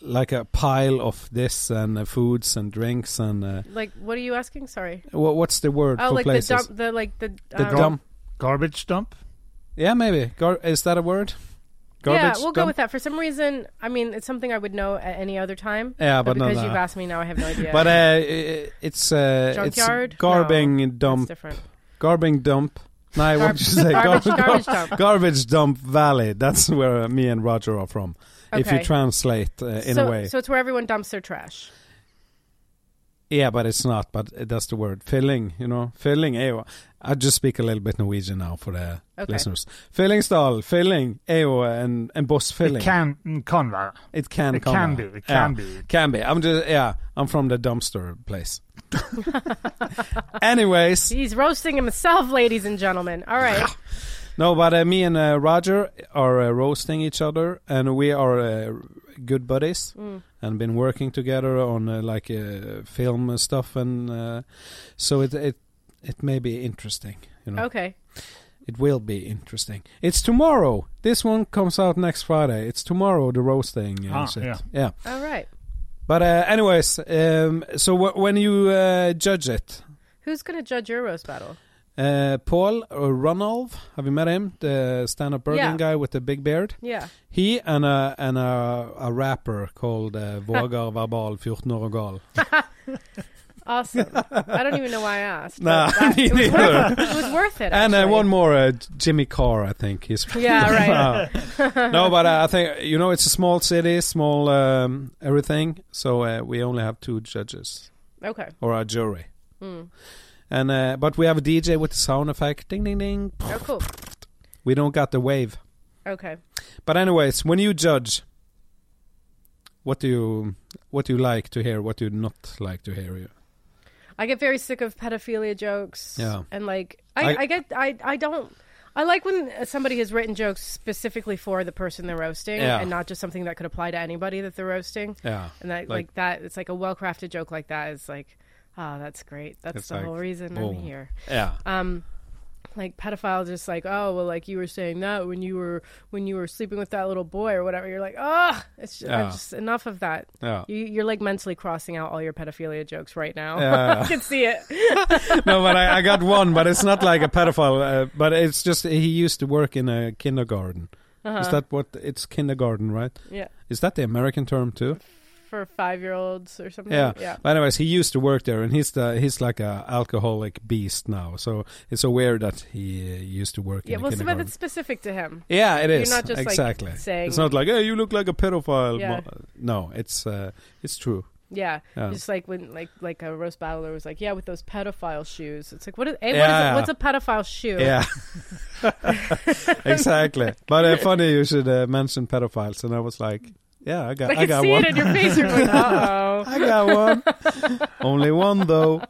S1: like a pile of this and uh, foods and drinks and uh,
S2: Like, what are you asking? Sorry.
S1: wha- what's the word
S2: Oh,
S1: for
S2: like
S1: places?
S2: the dump. The like the
S1: The
S2: um,
S1: dump.
S3: Garbage dump.
S1: Yeah, maybe. Gar- is that a word?
S2: Yeah,
S1: Garbage
S2: we'll go
S1: dump?
S2: with that. For some reason, I mean, it's something I would know at any other time.
S1: Yeah, but, no,
S2: because
S1: no.
S2: you've asked me now, I have no idea.
S1: Ah, But uh, i- it's uh,
S2: Junkyard?
S1: it's garbing
S2: That's
S1: dump,
S2: different.
S1: garbing dump. No, um, what
S2: Garb-
S1: did you say?
S2: garbage,
S1: Gar-
S2: garbage dump.
S1: Garbage Dump Valley. That's where uh, me and Roger are from. If you
S2: Okay.
S1: translate uh, in
S2: so,
S1: a way.
S2: so it's where everyone dumps their trash.
S1: yeah, but it's not. But uh, that's the word. Filling, you know. Filling. Ew. I just speak a little bit Norwegian now for the
S2: Okay.
S1: listeners. Fillingsdal, filling, ew, and, and boss filling.
S3: It can mm, can vara.
S1: It can
S3: It
S1: come
S3: can
S1: out.
S3: be. It
S1: Yeah.
S3: can be.
S1: Can be. I'm just, yeah, I'm from the dumpster place. Anyways,
S2: He's roasting himself, ladies and gentlemen. All right.
S1: no, but uh, me and uh, Roger are uh, roasting each other, and we are uh, good buddies.
S2: Mm.
S1: and been working together on uh, like uh, film and stuff, and uh, so it it it may be interesting. You know,
S2: Okay.
S1: it will be interesting. It's tomorrow. This one comes out next Friday. It's tomorrow. The roasting. Uh,
S3: Ah,
S1: shit.
S3: yeah.
S2: All right.
S1: But uh, anyways, um, so w- when you uh, judge it,
S2: Who's gonna judge your roast battle?
S1: Uh, Paul uh, Ronalv, have you met him? The stand-up Bergen
S2: Yeah.
S1: guy with the big beard.
S2: Yeah.
S1: He and a and a, a rapper called uh, Vågar Verbal 14 år gal.
S2: Awesome. I don't even know why I asked.
S1: Nah,
S2: but that-
S1: me
S2: it, was
S1: neither.
S2: worth, it was worth it.
S1: And uh,
S2: actually.
S1: one more, uh, J- Jimmy Carr, I think. He's
S2: Yeah, right.
S1: no, but uh, I think you know it's a small city, small um, everything. So uh, we only have two judges
S2: Okay.
S1: or a jury,
S2: Hmm.
S1: and uh, but we have a DJ with the sound effect, ding ding ding.
S2: Oh, cool.
S1: We don't got the wave.
S2: Okay.
S1: But anyways, when you judge, what do you what do you like to hear? What do you not like to hear?
S2: I get very sick of pedophilia jokes.
S1: Yeah.
S2: And like, I, I,
S1: I-
S2: get, I, I don't. I like when somebody has written jokes specifically for the person they're roasting,
S1: Yeah.
S2: and not just something that could apply to anybody that they're roasting.
S1: Yeah,
S2: And that, like,
S1: Like-
S2: that, it's like a well-crafted joke like that is like, oh, that's great. That's
S1: It's
S2: the
S1: like,
S2: whole reason
S1: boom.
S2: I'm here.
S1: yeah.
S2: um like pedophiles just like oh well like you were saying that when you were when you were sleeping with that little boy or whatever you're like oh it's just,
S1: Yeah.
S2: just enough of that
S1: Yeah.
S2: you, you're like mentally crossing out all your pedophilia jokes right now
S1: Yeah.
S2: i can see it
S1: no, but I, I got one, but it's not like a pedophile. Uh, but it's just he used to work in a kindergarten. Is
S2: Uh-huh.
S1: that what it's kindergarten, right?
S2: yeah
S1: Is that the American term too?
S2: for five year olds or something
S1: Yeah.
S2: Mm, yeah
S1: But anyways, he used to work there, and he's the he's like a alcoholic beast now. So it's so weird that he uh, used to work
S2: yeah
S1: in a
S2: well some of
S1: kindergarten.
S2: it's specific to him
S1: yeah, it
S2: you're
S1: is
S2: not just, like,
S1: exactly.
S2: saying-
S1: it's not like hey, you look like a pedophile.
S2: Yeah.
S1: mo-" No, it's uh, it's true.
S2: yeah,
S1: Yeah.
S2: just like when like like a roast battler was like yeah with those pedophile shoes it's like what is, a,
S1: Yeah.
S2: what is it, what's a pedophile shoe
S1: Yeah, exactly. But uh, funny you should uh, mention pedophiles, and I was like, yeah, I got
S2: i
S1: I
S2: can
S1: got
S2: see
S1: one.
S2: it in your face you're like uh-oh
S1: I got one. Only one though.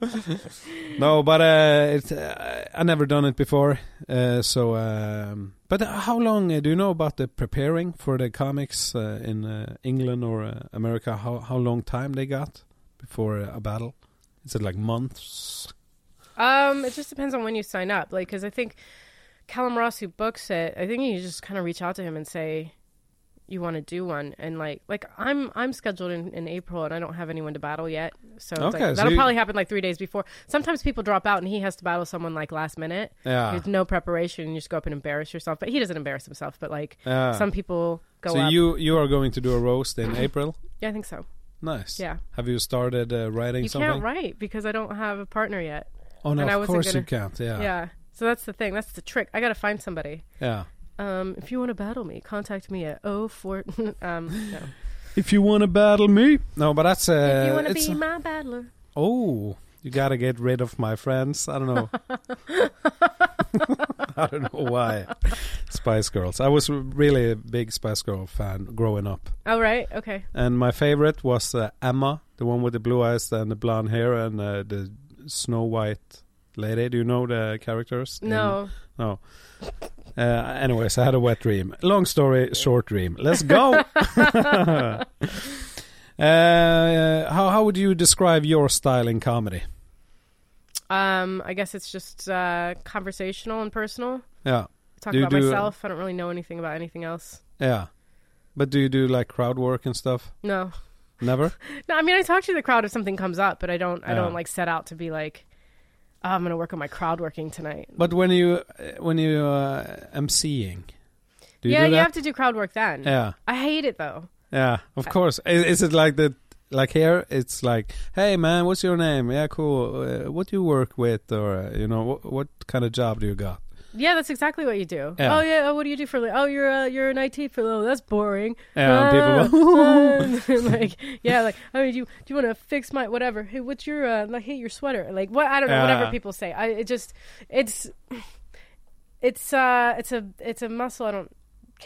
S1: No, but uh, it, uh, I never done it before. Uh, so, um, but how long uh, do you know about the preparing for the comics uh, in uh, England or uh, America? How how long time they got before uh, a battle? Is it like months?
S2: Um, it just depends on when you sign up. Like, because I think Callum Ross, who books it, I think you just kind of reach out to him and say you want to do one. And like, like I'm I'm scheduled in, in April, and I don't have anyone to battle yet. So it's
S1: Okay,
S2: like,
S1: so
S2: that'll
S1: you-
S2: probably happen like three days before. Sometimes people drop out, and he has to battle someone like last minute.
S1: Yeah.
S2: There's no preparation, and you just go up and embarrass yourself. But he doesn't embarrass himself. But like
S1: Yeah.
S2: some people go
S1: Ah. so
S2: up.
S1: you you are going to do a roast in April?
S2: yeah, I think so.
S1: Nice.
S2: Yeah.
S1: Have you started uh, writing
S2: You
S1: something?
S2: can't write because I don't have a partner yet.
S1: oh no,
S2: and I
S1: of
S2: wasn't
S1: course you
S2: gonna-
S1: can't. Yeah.
S2: yeah. So that's the thing. That's the trick. I got to find somebody.
S1: Yeah.
S2: Um, if you want to battle me, contact me at 04. um, no.
S1: If you want to battle me, no, but that's uh,
S2: if you want to
S1: it's-
S2: be my battler.
S1: Oh, you gotta get rid of my friends. I don't know. I don't know why. Spice Girls. I was really a big Spice Girl fan growing up,
S2: Oh, right. Okay.
S1: and my favorite was uh, Emma, the one with the blue eyes and the blonde hair and uh, the Snow White lady. Do you know the characters? in-
S2: No.
S1: no. Uh, anyways, I had a wet dream. Long story, short dream. Let's go. uh, how how would you describe your style in comedy?
S2: Um, I guess it's just uh, conversational and personal.
S1: Yeah,
S2: I talk
S1: Do you
S2: about
S1: do-
S2: myself. I don't really know anything about anything else.
S1: yeah. But do you do like crowd work and stuff?
S2: No.
S1: Never.
S2: No, I mean, I talk to the crowd if something comes up, but I don't, I
S1: Yeah.
S2: don't like set out to be like, oh, I'm going to work on my crowd working tonight.
S1: But when you uh, when you uh, emceeing, do you do
S2: yeah, you
S1: that? Uh.
S2: have to do crowd work then.
S1: yeah,
S2: I hate it though.
S1: yeah. Of course. Is, is it like the like here? It's like, hey man, what's your name? Yeah, cool. Uh, what do you work with, or uh, you know, what what kind of job do you got?
S2: Yeah, that's exactly what you do.
S1: Yeah.
S2: Oh yeah, oh, what do you do for? Li- oh, you're uh, you're an IT for. Oh, that's boring.
S1: Yeah,
S2: Uh,
S1: and Um, people
S2: people Um, like yeah, like I mean, do you do you want to fix my whatever? Hey, what's your uh, like? Hey, your sweater. Like what? I don't know.
S1: Yeah.
S2: Whatever people say. I it just it's it's uh it's a it's a muscle I don't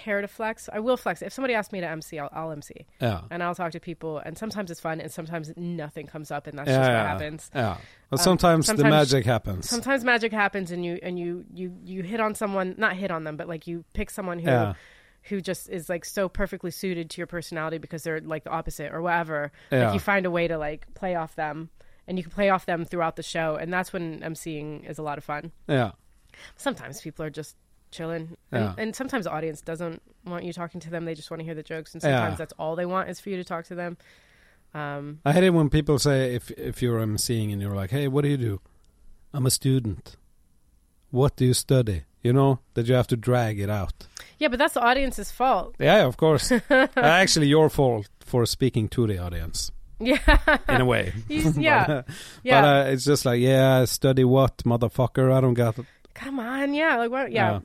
S2: care to flex. I will flex if somebody asks me to MC. I'll, I'll MC
S1: Yeah.
S2: and I'll talk to people. And sometimes it's fun, and sometimes nothing comes up, and that's
S1: yeah,
S2: just
S1: yeah.
S2: what happens. Um,
S1: Yeah. But sometimes, the
S2: sometimes-
S1: magic happens.
S2: Sometimes magic happens, and you and you you you hit on someone, not hit on them, but like you pick someone who
S1: Yeah.
S2: who just is like so perfectly suited to your personality because they're like the opposite or whatever.
S1: Yeah.
S2: Like you find a way to like play off them, and you can play off them throughout the show, and that's when emceeing is a lot of fun.
S1: yeah.
S2: Sometimes people are just chilling, and,
S1: Yeah.
S2: and sometimes the audience doesn't want you talking to them; they just want to hear the jokes, and sometimes
S1: Yeah.
S2: that's all they want is for you to talk to them. Um,
S1: I hate it when people say if if you're emceeing and you're like, hey, what do you do? I'm a student. What do you study? You know that you have to drag it out.
S2: Yeah, but that's the audience's fault.
S1: Yeah, of course. Uh, Actually, your fault for speaking to the audience
S2: Yeah.
S1: in a way.
S2: You- yeah.
S1: but, uh,
S2: yeah.
S1: but uh, it's just like, yeah, study what, motherfucker? I don't got.
S2: Come on. Yeah. Like what? yeah.
S1: Yeah.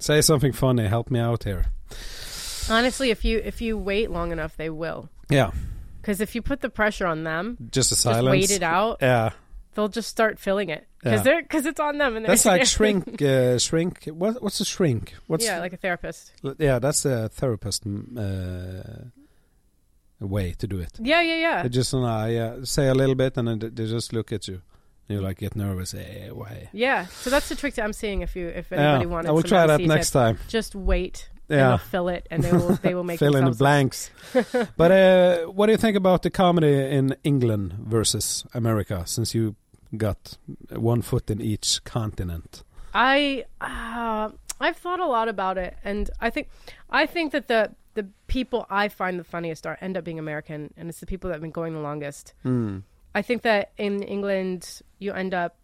S1: Say something funny. Help me out here.
S2: Honestly, if you if you wait long enough, they will.
S1: Yeah,
S2: Because if you put the pressure on them,
S1: just a
S2: just
S1: silence.
S2: wait it out,
S1: Yeah,
S2: they'll just start filling it.
S1: Yeah.
S2: Because they're because it's on them. And they're-
S1: that's like shrink. Uh, shrink. What, what's a shrink? What's
S2: yeah, like a therapist.
S1: yeah, that's a therapist mm, uh, way to do it.
S2: Yeah, yeah, yeah.
S1: They just uh, yeah, say a little bit, and then they just look at you. You like get nervous. Eh, why?
S2: Yeah, so that's the trick that I'm seeing. If you, if
S1: Yeah,
S2: anybody wanted,
S1: I will
S2: some
S1: try that
S2: LCs,
S1: next time.
S2: I'd Just wait. and
S1: Yeah.
S2: they'll fill it, and they will. They will make
S1: fill in the
S2: themselves-
S1: blanks. but uh, what do you think about the comedy in England versus America? Since you got one foot in each continent,
S2: I, uh, I've thought a lot about it, and I think, I think that the the people I find the funniest are end up being American, and it's the people that have been going the longest. I think that in England you end up.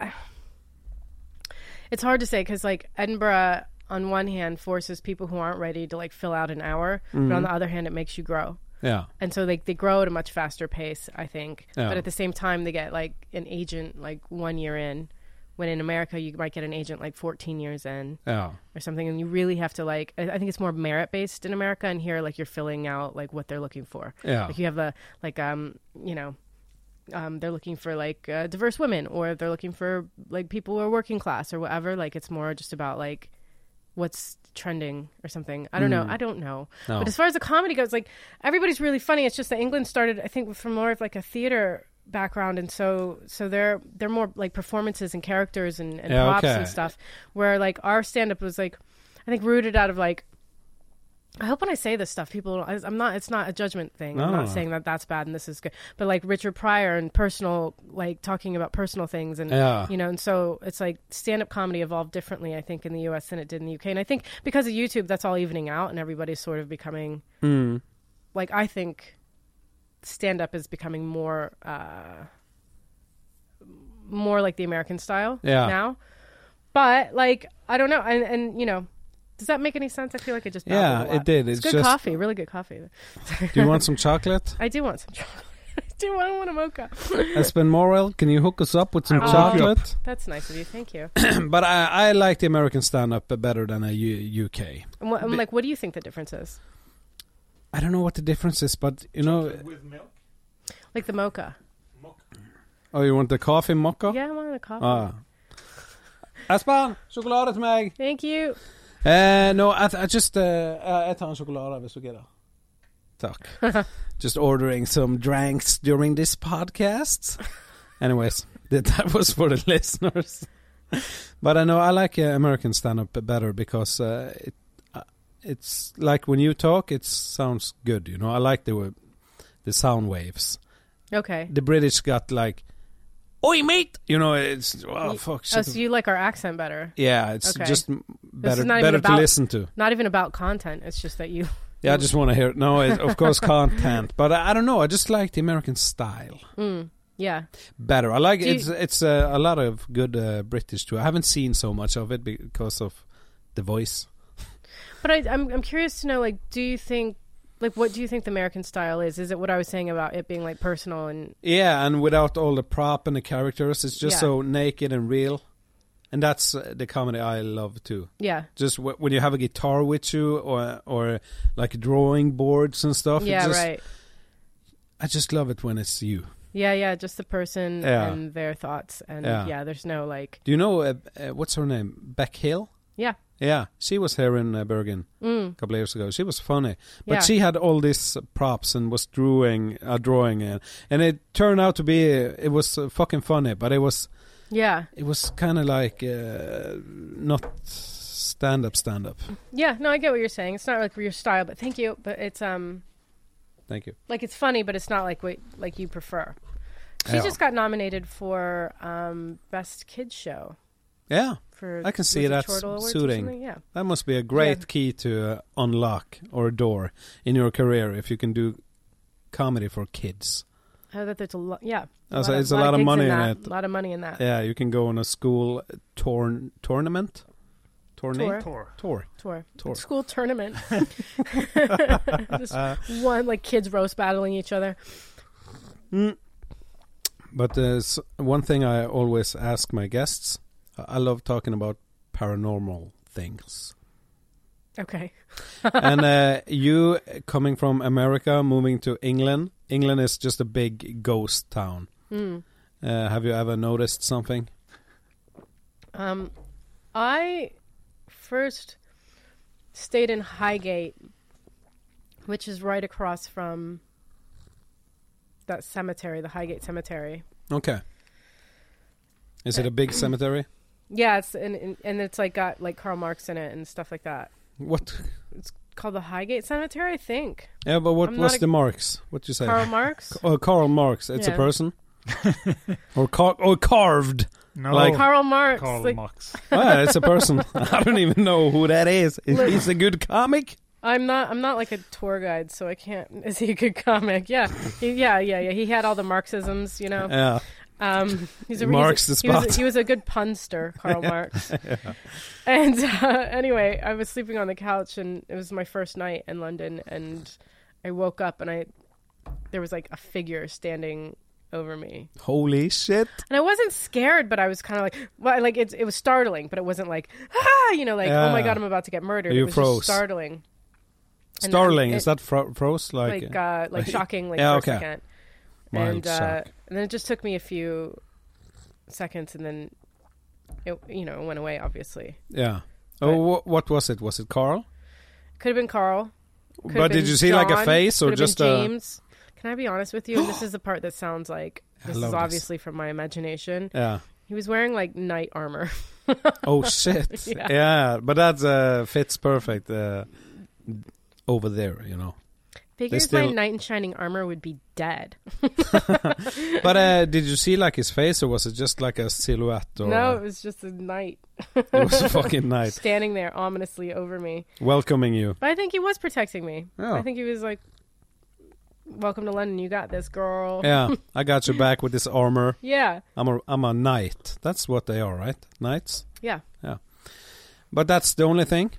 S2: It's hard to say because like Edinburgh on one hand forces people who aren't ready to like fill out an hour, but on the other hand it makes you grow.
S1: yeah,
S2: and so like they grow at a much faster pace i think
S1: Yeah.
S2: but at the same time they get like an agent like one year in when in america you might get an agent like 14 years in
S1: yeah,
S2: or something and you really have to like i I think it's more merit based in america and here like you're filling out like what they're looking for
S1: Yeah.
S2: like you have a like um you know um, they're looking for like uh, diverse women or they're looking for like people who are working class or whatever like it's more just about like what's trending or something i don't know i don't know
S1: Mm. No.
S2: but as far as the comedy goes like everybody's really funny it's just that england started i think from more of like a theater background and so so they're they're more like performances and characters and, and
S1: Yeah,
S2: props
S1: okay.
S2: and stuff where like our stand up was like i think rooted out of like I hope when I say this stuff, people. I, I'm not. It's not a judgment thing. I'm
S1: No.
S2: not saying that that's bad and this is good. But like Richard Pryor and personal, like talking about personal things, and
S1: Yeah.
S2: you know, and so it's like stand up comedy evolved differently, I think, in the U.S. than it did in the U.K. And I think because of YouTube, that's all evening out, and everybody's sort of becoming, Mm. like, I think stand up is becoming more, uh more like the American style
S1: Yeah.
S2: now. But like, I don't know, and and you know. Does that make any sense? I feel like it just babbled
S1: yeah.
S2: a lot.
S1: It did.
S2: Oh, It's,
S1: It's,
S2: good
S1: just.
S2: coffee, really good coffee.
S1: Do you want some chocolate?
S2: I do want some chocolate. I do. I want a mocha.
S1: Espen Morel, can you hook us up with some
S3: I will hook you up.
S1: chocolate?
S2: That's nice of you. Thank you.
S1: but I, I like the American stand up better than a U- UK.
S2: I'm, I'm like, what do you think the difference is?
S1: I don't know what the difference is, but you know,
S3: With milk?
S2: Like the mocha.
S1: oh, you want the coffee mocha?
S2: Yeah, I want a coffee.
S1: Ah. Espen, sjokolade til meg!
S2: Thank you.
S1: Eh, no, I, I just uh, uh, Jeg tar en sjokolade hvis du gidder. Takk. just ordering some drinks during this podcast. Anyways, that, that was for the listeners. but I know I like uh, American stand up better because uh, it uh, it's like when you talk, it sounds good. You know, I like the wa- the sound waves.
S2: Okay.
S1: The British got like, "Oi, mate," you know. It's oh
S2: Y-
S1: fuck.
S2: Oh,
S1: shit.
S2: so you like our accent better?
S1: yeah, it's
S2: Okay.
S1: just m- better
S2: is not even
S1: better to
S2: about-
S1: listen to.
S2: Not even about content. It's just that you.
S1: Yeah, I just want to hear. No, it, of course, content. But I, I don't know. I just like the American style
S2: Mm, yeah.
S1: better. I like
S2: Do you-
S1: it's it's uh, a lot of good uh, British too. I haven't seen so much of it because of the voice.
S2: But I, I'm I'm curious to know. Like, do you think? Like, what do you think the American style is? Is it what I was saying about it being like personal and
S1: Yeah, and without all the prop and the characters, it's just
S2: Yeah.
S1: so naked and real. And that's uh, the comedy I love too.
S2: yeah,
S1: Just w- when you have a guitar with you, or or like drawing boards and stuff. it
S2: yeah,
S1: just-
S2: right,
S1: I just love it when it's you.
S2: yeah, yeah, just the person
S1: Yeah.
S2: and their thoughts and
S1: Yeah.
S2: yeah, there's no like
S1: Do you know uh, uh, what's her name? Beck Hill.
S2: yeah,
S1: Yeah, she was here in uh, Bergen
S2: mm,
S1: a couple of years ago. She was funny, but
S2: Yeah.
S1: she had all these uh, props and was drawing, uh, drawing, and and it turned out to be uh, it was uh, fucking funny, but it was
S2: yeah.
S1: it was kind of like uh, not stand up, stand up.
S2: Yeah, no, I get what you're saying. It's not like your style, but thank you. But it's um
S1: Thank you.
S2: like it's funny, but it's not like what like you prefer. She
S1: Yeah.
S2: just got nominated for um best kids show
S1: Yeah,
S2: for
S1: I can see
S2: was it
S1: that's
S2: Chortle Awards or
S1: suiting.
S2: something? Yeah.
S1: that must be a great
S2: Yeah.
S1: key to uh, unlock or door in your career if you can do comedy for kids.
S2: I bet there's a lot. Yeah.
S1: Oh, so
S2: Lotta-
S1: it's a
S2: lotta
S1: lot of
S2: gigs
S1: money in
S2: that.
S1: it.
S2: A lot of money in that
S1: Yeah, you can go on a school torn tournament, tournament,
S3: Tour.
S1: tour,
S2: tour.
S1: tour.
S2: School tournament. Just
S1: Uh.
S2: one, like kids roast battling each other.
S1: Mm. But there's one thing I always ask my guests. I I love talking about paranormal things.
S2: Okay.
S1: and uh, you uh, coming from America, moving to England. England is just a big ghost town.
S2: Mm.
S1: Uh, have you ever noticed something?
S2: Um, I first stayed in Highgate, which is right across from that cemetery, the Highgate Cemetery.
S1: Okay. Is it a big cemetery?
S2: Yeah, it's and- and and it's like got like Karl Marx in it and stuff like that.
S1: What?
S2: It's called the Highgate Cemetery, I think.
S1: Yeah, but what
S2: I'm
S1: was
S2: not a-
S1: the marks? What you say?
S2: Karl Marx.
S1: Oh, Karl Marx. It's a
S2: Yeah.
S1: person. or car- or carved.
S3: No.
S1: Like-
S2: Karl Marx.
S3: Karl
S2: like,
S3: Marx.
S1: Ah, it's a person. I don't even know who that is. Is
S2: Look.
S1: he's a good comic?
S2: I'm not. I'm not like a tour guide, so I can't. Is he a good comic? Yeah, he, yeah, yeah, yeah. He had all the Marxisms, you know.
S1: Yeah.
S2: Um, he's a
S1: Marx
S2: he's a-
S1: the
S2: he was a-
S1: spot.
S2: He was, a good punster, Karl Marx. And uh, anyway, I was sleeping on the couch, and it was my first night in London, and I woke up, and I there was like a figure standing over me,
S1: Holy shit.
S2: and I wasn't scared, but I was kind of like, well, like it, it was startling, but it wasn't like, ah, you know, like oh my
S1: Yeah.
S2: god, I'm about to get murdered.
S1: You
S2: it was
S1: froze.
S2: just startling. And uh,
S1: Starling.
S2: it-
S1: is that fro- froze? Like,
S2: like uh, like shocking like
S1: Yeah,
S2: for
S1: okay.
S2: a second.
S1: Mild
S2: and uh,
S1: shock.
S2: and then it just took me a few seconds, and then it you know went away. Obviously,
S1: yeah. Oh, wh- what was it? Was it Carl?
S2: could have been Carl. could have
S1: but did
S2: been
S1: you see like a
S2: John,
S1: face or
S2: could have been
S1: just uh, a?
S2: James? Can I be honest with you? And this is the part that sounds like
S1: love
S2: this is
S1: this.
S2: obviously from my imagination.
S1: Yeah.
S2: He was wearing like knight armor.
S1: Oh shit. yeah.
S2: Yeah.
S1: But that uh, fits perfect uh, over there, you know.
S2: Figures
S1: still-
S2: my knight in shining armor would be dead.
S1: But uh, did you see like his face or was it just like a silhouette? Or
S2: No, it was just a knight
S1: it was a fucking night
S2: standing there ominously over me.
S1: welcoming you.
S2: But I think he was protecting me.
S1: Yeah.
S2: I think he was like, "Welcome to London. You got this, girl."
S1: Yeah, I got your back with this armor.
S2: Yeah.
S1: I'm a I'm a knight. That's what they are, right? Knights.
S2: Yeah.
S1: But that's the only thing.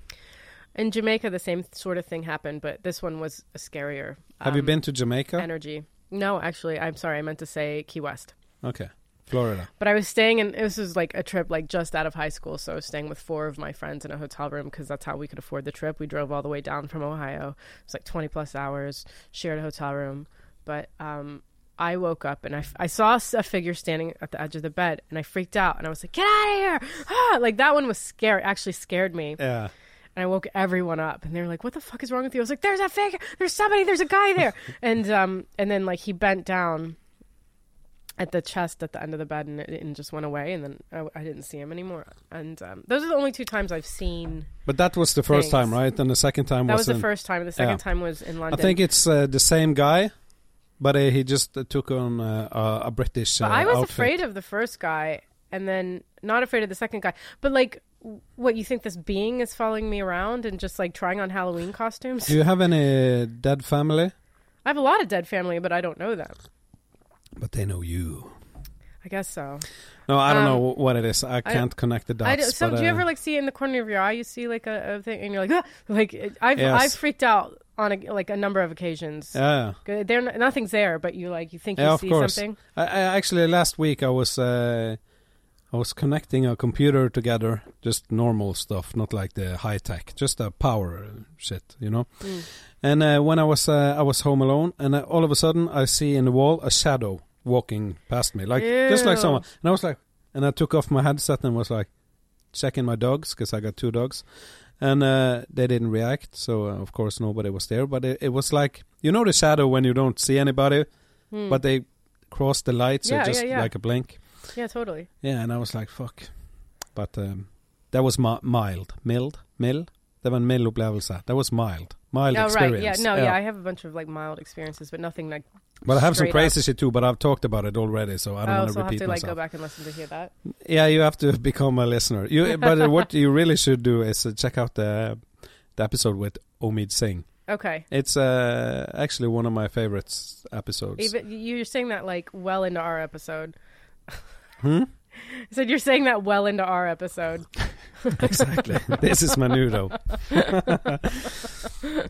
S2: In Jamaica, the same sort of thing happened, but this one was a scarier.
S1: Have you
S2: um,
S1: been to Jamaica?
S2: Energy. No, actually, I'm sorry. I meant to say Key West.
S1: okay, Florida.
S2: But I was staying in. This was like a trip, like just out of high school. So I was staying with four of my friends in a hotel room because that's how we could afford the trip. We drove all the way down from Ohio. It was like 20 plus hours, shared a hotel room. But um, I woke up and I, f- I saw s- a figure standing at the edge of the bed and I freaked out and I was like, get out of here. Ah! Like that one was scary, actually scared me.
S1: Yeah.
S2: And I woke everyone up, and they were like, "What the fuck is wrong with you?" I was like, "There's a figure. There's somebody. There's a guy there." and um, and then like he bent down at the chest at the end of the bed, and it, and just went away. And then I, I didn't see him anymore. And um, those are the only two times I've seen.
S1: But that was the first
S2: Thanks.
S1: time, right? And the second time
S2: That was the
S1: in-
S2: first time. and The second
S1: yeah.
S2: time was in
S1: I
S2: London.
S1: think it's uh, the same guy, but uh, he just uh, took on uh, a- a British. Uh,
S2: But I was
S1: outfit.
S2: afraid of the first guy, and then not afraid of the second guy. But like, w- what you think this being is following me around and just like trying on Halloween costumes?
S1: Do you have any dead family?
S2: I have a lot of dead family, but I don't know them.
S1: But they know you.
S2: I guess so.
S1: No, I don't
S2: Um,
S1: know what it is. I can't connect the dots.
S2: I do, so
S1: but,
S2: do you
S1: uh,
S2: ever like see in the corner of your eye you see like a, a thing and you're like "Ah!" like it- I've
S1: Yes.
S2: I've freaked out on a, like a number of occasions.
S1: Yeah.
S2: Good- They're not, nothing's there, but you like you think
S1: Yeah,
S2: you
S1: of
S2: see
S1: course.
S2: something.
S1: I, I actually last week I was uh, I was connecting a computer together, just normal stuff, not like the high tech, just the power shit, you know.
S2: Mm.
S1: And uh, when I was uh, I was home alone, and uh, all of a sudden I see in the wall a shadow walking past me, like just like
S2: Ew.
S1: someone. And I was like, and I took off my headset and was like checking my dogs because I got two dogs, and uh, they didn't react. So uh, of course nobody was there, but it, it was like you know the shadow when you don't see anybody,
S2: Hmm.
S1: but they crossed the light, so
S2: Yeah,
S1: just
S2: yeah, yeah.
S1: like a blink.
S2: yeah, totally.
S1: Yeah, and I was like, fuck. But um, that was mi- mild, mild, mild. Det var en mild upplevelse. That was mild, mild
S2: oh right,
S1: experience.
S2: yeah, no, yeah. I have a bunch of like mild experiences, but nothing like.
S1: But I have some
S2: Straight
S1: crazy shit too. But I've talked about it already, so I don't
S2: oh,
S1: want
S2: so I'll have
S1: repeat
S2: to like
S1: myself.
S2: go back and listen to hear that.
S1: Yeah, you have to become a listener. You, but uh, what you really should do is uh, check out the the episode with Omid Singh.
S2: Okay.
S1: It's uh, actually one of my favorites episodes.
S2: Even you're saying that like well into our episode.
S1: Hmm?
S2: I said you're saying that well into our episode.
S1: exactly. this is Menudo.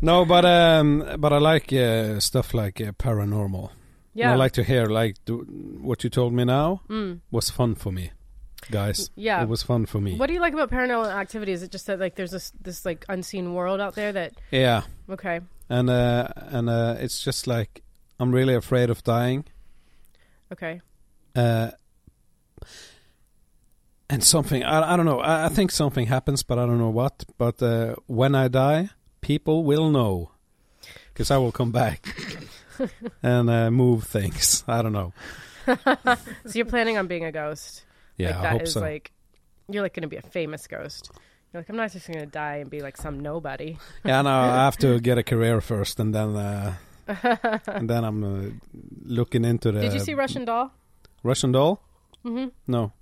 S1: no, but um, but I like uh, stuff like uh, paranormal. And
S2: Yeah.
S1: I like to hear like do, what you told me now
S2: Mm.
S1: was fun for me, guys.
S2: Yeah.
S1: It was fun for me.
S2: What do you like about paranormal activity? Is it just that like there's this this like unseen world out there that
S1: Yeah,
S2: okay
S1: and uh, and uh, it's just like I'm really afraid of dying,
S2: okay
S1: uh, and something I I don't know. I, I think something happens, but I don't know what. But uh, when I die, people will know because I will come back and uh, move things. I don't know.
S2: so you're planning on being a ghost
S1: Yeah,
S2: like
S1: I
S2: that
S1: hope
S2: is
S1: so.
S2: like you're like going to be a famous ghost. You're like I'm not just going to die and be like some nobody.
S1: yeah, no, I have to get a career first, and then uh, and then I'm uh, looking into the
S2: Did you see Russian Doll?
S1: Russian Doll?
S2: Mm-hmm.
S1: No,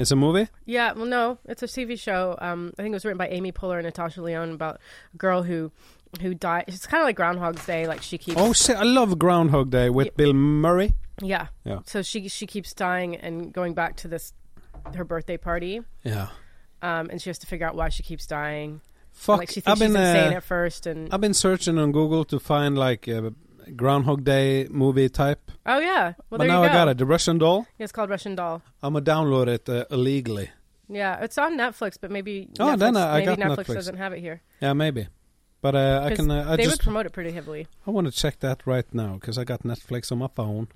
S1: it's a movie.
S2: Yeah, well, no, it's a TV show. Um, I think it was written by Amy Poehler and Natasha Leone about a girl who who died. It's kind of like Groundhog's Day. Like she keeps,
S1: Oh shit! I love Groundhog Day with
S2: Yeah.
S1: Bill Murray.
S2: yeah,
S1: Yeah.
S2: So she she keeps dying and going back to this her birthday party,
S1: Yeah,
S2: um, and she has to figure out why she keeps dying.
S1: fuck.
S2: like she
S1: I've
S2: thinks
S1: been
S2: she's insane
S1: uh,
S2: at first, and
S1: I've been searching on Google to find like a Groundhog Day movie type,
S2: oh yeah,
S1: but
S2: well there
S1: now I
S2: you go.
S1: got it. The Russian Doll.
S2: It's called Russian Doll.
S1: I'm gonna download it uh, illegally.
S2: Yeah, it's on Netflix, but maybe
S1: Oh,
S2: Netflix,
S1: then I- I
S2: maybe
S1: got
S2: Netflix,
S1: Netflix.
S2: doesn't have it here.
S1: Yeah, maybe. But uh, I
S2: 'Cause
S1: can. Uh, I
S2: they
S1: just.
S2: would promote it pretty heavily.
S1: I want to check that right now because I got Netflix on my phone.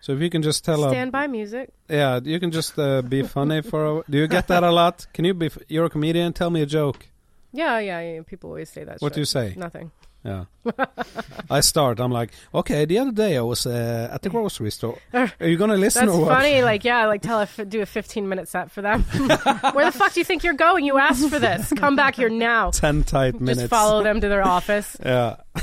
S1: So if you can just tell. Uh,
S2: Stand by music.
S1: yeah, you can just uh, be funny for. A, do you get that a lot? Can you be? f- You're a comedian. Tell me a joke.
S2: Yeah, yeah, yeah. People always say that.
S1: What
S2: shit.
S1: do you say?
S2: Nothing.
S1: Yeah. I start. I'm like, okay, the other day I was uh, at the grocery store. Are you going to listen
S2: That's
S1: or what?
S2: funny. Like, yeah, like tell if do a 15 minute set for them. Where the fuck do you think you're going? You asked for this. Come back here now.
S1: 10 tight minutes.
S2: Just follow them to their office.
S1: Yeah.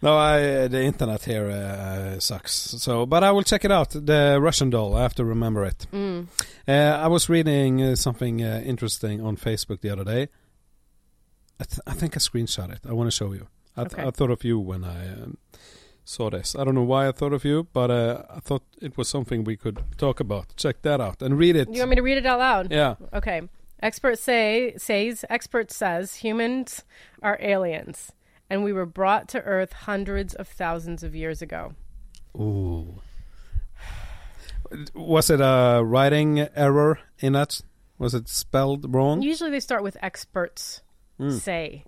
S1: no, I, the internet here uh, sucks. So, But I will check it out. The Russian doll. I have to remember it.
S2: Mm.
S1: Uh, I was reading uh, something uh, interesting on Facebook the other day. I, th- I think I screenshot it. I want to show you. I, th-
S2: Okay.
S1: I thought of you when I um, saw this. I don't know why I thought of you, but uh, I thought it was something we could talk about. Check that out and read it.
S2: You want me to read it out loud?
S1: yeah.
S2: Okay. Expert say says expert says humans are aliens, and we were brought to Earth hundreds of thousands of years ago.
S1: Ooh. Was it a writing error in that? Was it spelled wrong?
S2: Usually they start with experts
S1: Hmm.
S2: say.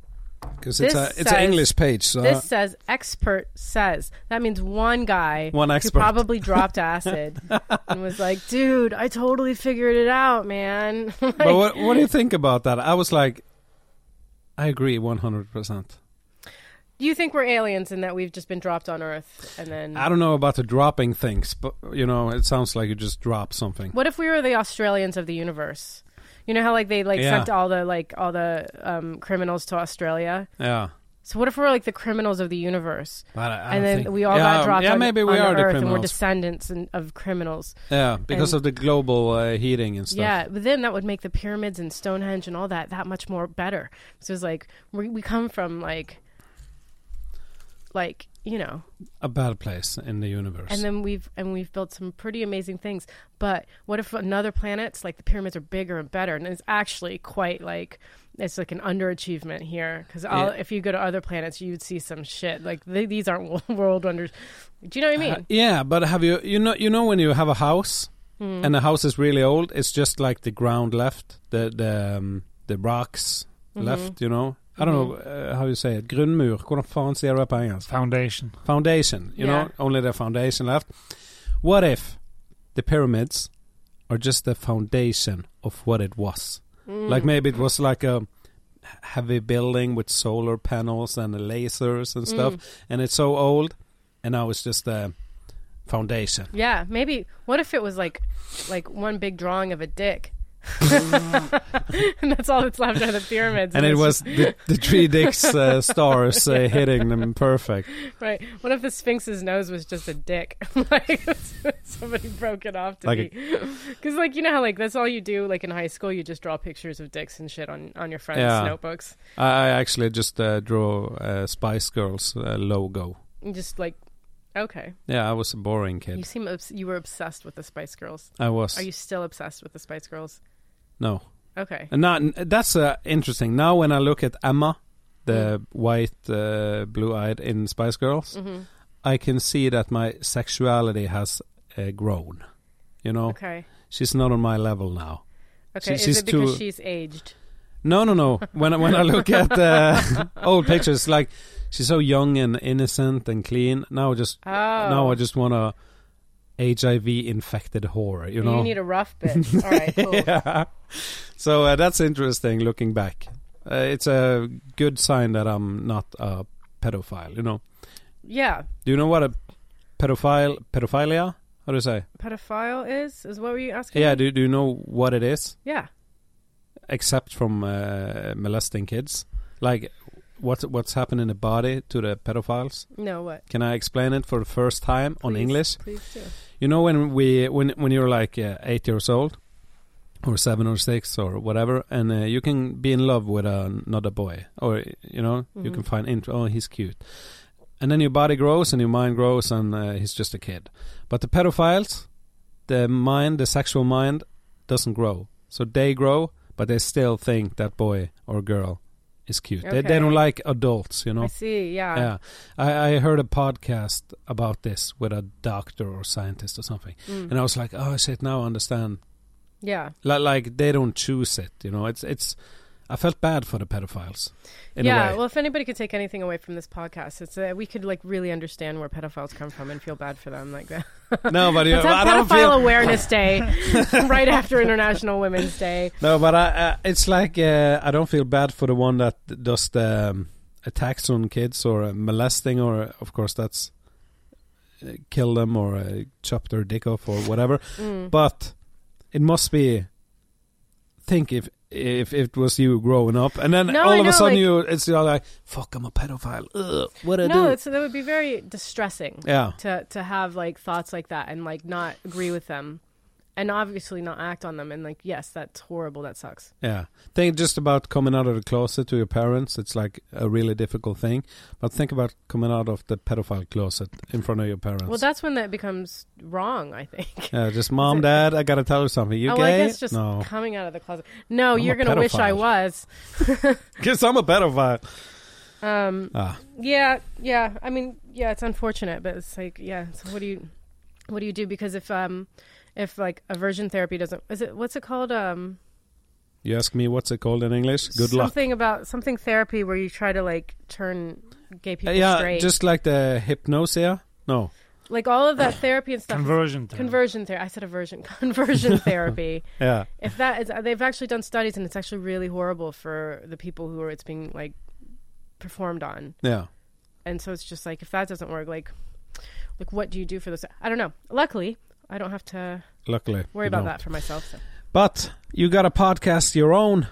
S1: Because it's a
S2: This
S1: it's an
S2: says-
S1: English page. So
S2: This says expert says. That means one guy
S1: One expert.
S2: who probably dropped acid and was like, dude, I totally figured it out, man. Like,
S1: but what what do you think about that? I was like, I agree one hundred percent.
S2: do you think we're aliens and that we've just been dropped on Earth and then
S1: I don't know about the dropping things, but you know, it sounds like you just drop something.
S2: what if we were the Australians of the universe? You know how like they like
S1: Yeah.
S2: sent all the like all the um, criminals to Australia?
S1: Yeah,
S2: So what if we're like the criminals of the universe?
S1: but I, I
S2: And
S1: don't
S2: then
S1: think-
S2: we all
S1: yeah,
S2: got dropped
S1: Yeah,
S2: on,
S1: maybe we
S2: on
S1: are
S2: Earth
S1: the
S2: and we're
S1: criminals.
S2: descendants and, of criminals.
S1: yeah, because of the global uh, heating and stuff.
S2: Yeah, but then that would make the pyramids and Stonehenge and all that that much more better. So it's like we, we come from like, like you know,
S1: a bad place in the universe.
S2: and then we've and we've built some pretty amazing things. But what if another planets like the pyramids are bigger and better, and it's actually quite like it's like an underachievement here because
S1: Yeah.
S2: if you go to other planets, you'd see some shit like they, these aren't wo- world wonders. Do you know what I mean? Hmm.
S1: Uh, yeah, but have you you know you know when you have a house
S2: Mm-hmm.
S1: and the house is really old, it's just like the ground left, the the um, the rocks left. You know, I don't know uh, how you say it. Grundmur. Hvordan faen sier du det på engelsk?
S3: Foundation.
S1: Foundation. You
S2: Yeah.
S1: know, only the foundation left. What if the pyramids are just the foundation of what it was? Like maybe it was like a heavy building with solar panels and lasers and stuff, and it's so old, and now it's just the foundation.
S2: Yeah, maybe. What if it was like, like one big drawing of a dick and that's all that's left are the pyramids.
S1: and it
S2: it's
S1: was the, the three dicks uh, stars uh, hitting them perfect.
S2: just- right. What if the Sphinx's nose was just a dick? like somebody broke it off to
S1: Like
S2: like because, like you know how like that's all you do like in high school. You just draw pictures of dicks and shit on on your friends'
S1: Yeah.
S2: notebooks.
S1: I I actually just uh, drew uh, Spice Girls uh, logo.
S2: And just like, okay,
S1: Yeah, I was a boring
S2: you
S1: kid.
S2: seem obs- you were obsessed with the Spice Girls.
S1: I was
S2: Are you still obsessed with the Spice Girls?
S1: no.
S2: Okay.
S1: And now that's uh, interesting. Now when I look at Emma, the
S2: Mm-hmm.
S1: white, uh, blue-eyed in Spice Girls,
S2: hmm
S1: I can see that my sexuality has uh, grown. You know,
S2: Okay.
S1: she's not on my level now.
S2: Okay. Is
S1: she's
S2: it because
S1: too-
S2: she's aged?
S1: No, no, no. When I- when I look at uh, old pictures, like she's so young and innocent and clean. Now I just
S2: Oh.
S1: now I just want a HIV infected whore. You
S2: you,
S1: know.
S2: need a rough bit. All right. Cool.
S1: yeah. So uh, that's interesting. Looking back, uh, it's a good sign that I'm not a pedophile. You know.
S2: Yeah.
S1: Do you know what a pedophile pedophilia? How do you say?
S2: Pedophile is is what were you asking?
S1: Yeah. Do Do you know what it is?
S2: Yeah.
S1: except from uh, molesting kids. Like, what what's happened in the body to the pedophiles?
S2: No. What?
S1: Can I explain it for the first time on
S2: Please,
S1: English?
S2: Please do.
S1: You know, when we when when you're like uh, eight years old, or seven or six or whatever, and uh, you can be in love with another boy, or you know, you
S2: Mhm.
S1: can find int- oh he's cute, and then your body grows and your mind grows, and uh, he's just a kid. But the pedophiles, the mind, the sexual mind, doesn't grow, so they grow, but they still think that boy or girl is cute. They, they
S2: Okay.
S1: don't like adults, you know.
S2: I see. Yeah.
S1: Yeah, I, I heard a podcast about this with a doctor or scientist or something,
S2: Mm.
S1: and I was like, "Oh shit, now I understand."
S2: yeah.
S1: Like, like they don't choose it, you know. It's it's. I felt bad for the pedophiles, in
S2: yeah.
S1: a way.
S2: Well, if anybody could take anything away from this podcast, it's that we could like really understand where pedophiles come from and feel bad for them like that.
S1: no, but you
S2: Let's
S1: I
S2: have
S1: don't
S2: Pedophile
S1: feel.
S2: Awareness Day right after International Women's Day.
S1: No, but I, uh, it's like uh, I don't feel bad for the one that does the um, attacks on kids or uh, molesting or, uh, of course, that's uh, kill them or uh, chop their dick off or whatever.
S2: Mm.
S1: but it must be think if if it was you growing up and then
S2: No,
S1: all
S2: I
S1: of a
S2: know,
S1: sudden
S2: like-
S1: you it's you're like fuck i'm a pedophile Ugh, what do i
S2: no,
S1: uh, do
S2: it's, that would be very distressing
S1: yeah
S2: to to have like thoughts like that and like not agree with them, and obviously not act on them. And like, yes, that's horrible. That sucks.
S1: yeah think just about coming out of the closet to your parents it's like a really difficult thing but think about coming out of the pedophile closet in front of your parents
S2: Well, that's when that becomes wrong. I think.
S1: yeah just mom
S2: it-
S1: dad i gotta tell you something you
S2: oh,
S1: gay
S2: well, I guess just
S1: no
S2: coming out of the closet. No,
S1: I'm
S2: you're
S1: a
S2: gonna wish I
S1: pedophile.
S2: was.
S1: because i'm a pedophile
S2: Um,
S1: ah
S2: yeah, yeah. I mean, yeah, it's unfortunate, but it's like, yeah. So what do you, what do you do? Because if um, if like aversion therapy doesn't, is it what's it called? Um,
S1: you ask me what's it called in english good luck
S2: something about something therapy where you try to like turn gay people
S1: yeah
S2: straight.
S1: just like the hypnosia no
S2: like all of that therapy and stuff.
S3: Conversion time.
S2: Conversion therapy. I said aversion. Conversion therapy.
S1: yeah
S2: If that is, they've actually done studies, and it's actually really horrible for the people who are it's being like performed on.
S1: yeah
S2: and so it's just like if that doesn't work like like what do you do for this i don't know luckily i don't have to
S1: Luckily,
S2: worry
S1: you don't.
S2: about that for myself so.
S1: But you got a podcast your own,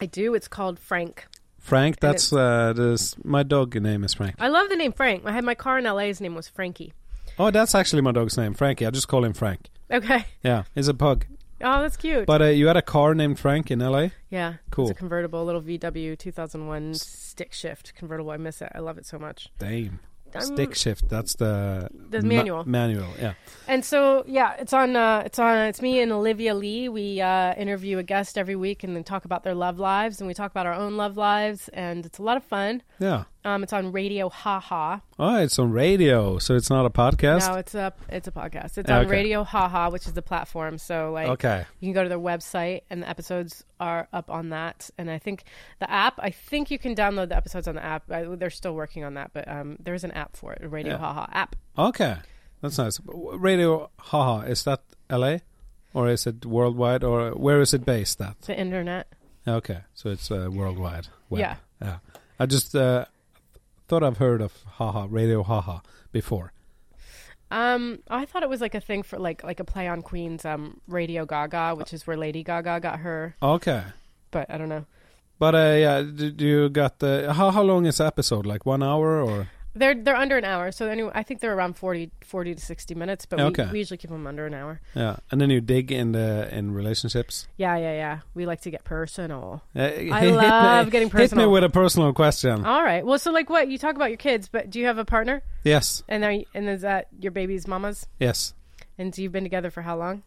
S2: i do it's called frank
S1: Frank.
S2: And
S1: That's uh, this. My dog name is Frank.
S2: i love the name frank i had my car in la his name was frankie
S1: Oh, that's actually my dog's name, Frankie. I just call him Frank.
S2: okay
S1: Yeah, he's a pug.
S2: oh that's cute
S1: But uh, you had a car named Frank in LA.
S2: yeah
S1: Cool.
S2: it's a convertible a little vw 2001 stick shift convertible i miss it i love it so much
S1: Damn.
S2: Um,
S1: Stick shift. That's the
S2: The
S1: ma-
S2: manual.
S1: manual. Yeah.
S2: And so, yeah, it's on. Uh, it's on. It's me and Olivia Lee. We uh, interview a guest every week, and then talk about their love lives, and we talk about our own love lives, and it's a lot of fun.
S1: Yeah.
S2: Um, it's on Radio Ha Ha.
S1: Oh, it's on radio, so it's not a podcast.
S2: No, it's a it's a podcast. It's
S1: Yeah,
S2: on
S1: okay.
S2: Radio Haha, which is the platform. So like
S1: okay.
S2: you can go to their website and the episodes are up on that. And I think the app, I think you can download the episodes on the app. I, they're still working on that, but um, there's an app for it, a Radio
S1: Yeah.
S2: Haha app.
S1: Okay. That's nice. W- Radio, haha. Is that LA, or is it worldwide, or where is it based at?
S2: The internet.
S1: Okay, so it's uh, worldwide. Web.
S2: Yeah.
S1: yeah. I just uh, thought I've heard of haha radio haha before.
S2: Um, I thought it was like a thing for like like a play on Queen's um Radio Gaga, which is where Lady Gaga got her.
S1: Okay.
S2: But I don't know.
S1: But uh, yeah, do, do you got the how how long is the episode? Like one hour or
S2: They're they're under an hour, so anyway, I think they're around 40, 40 to sixty minutes, but
S1: Okay.
S2: we, we usually keep them under an hour.
S1: yeah, and then you dig in the in relationships.
S2: Yeah, yeah, yeah. We like to get personal.
S1: Uh,
S2: I love getting
S1: Hit
S2: personal. Oh.
S1: me with a personal question.
S2: All right. Well, so like what you talk about your kids, but do you have a partner?
S1: Yes,
S2: And are you, and is that your baby's mama's?
S1: yes.
S2: And so you've been together for how long?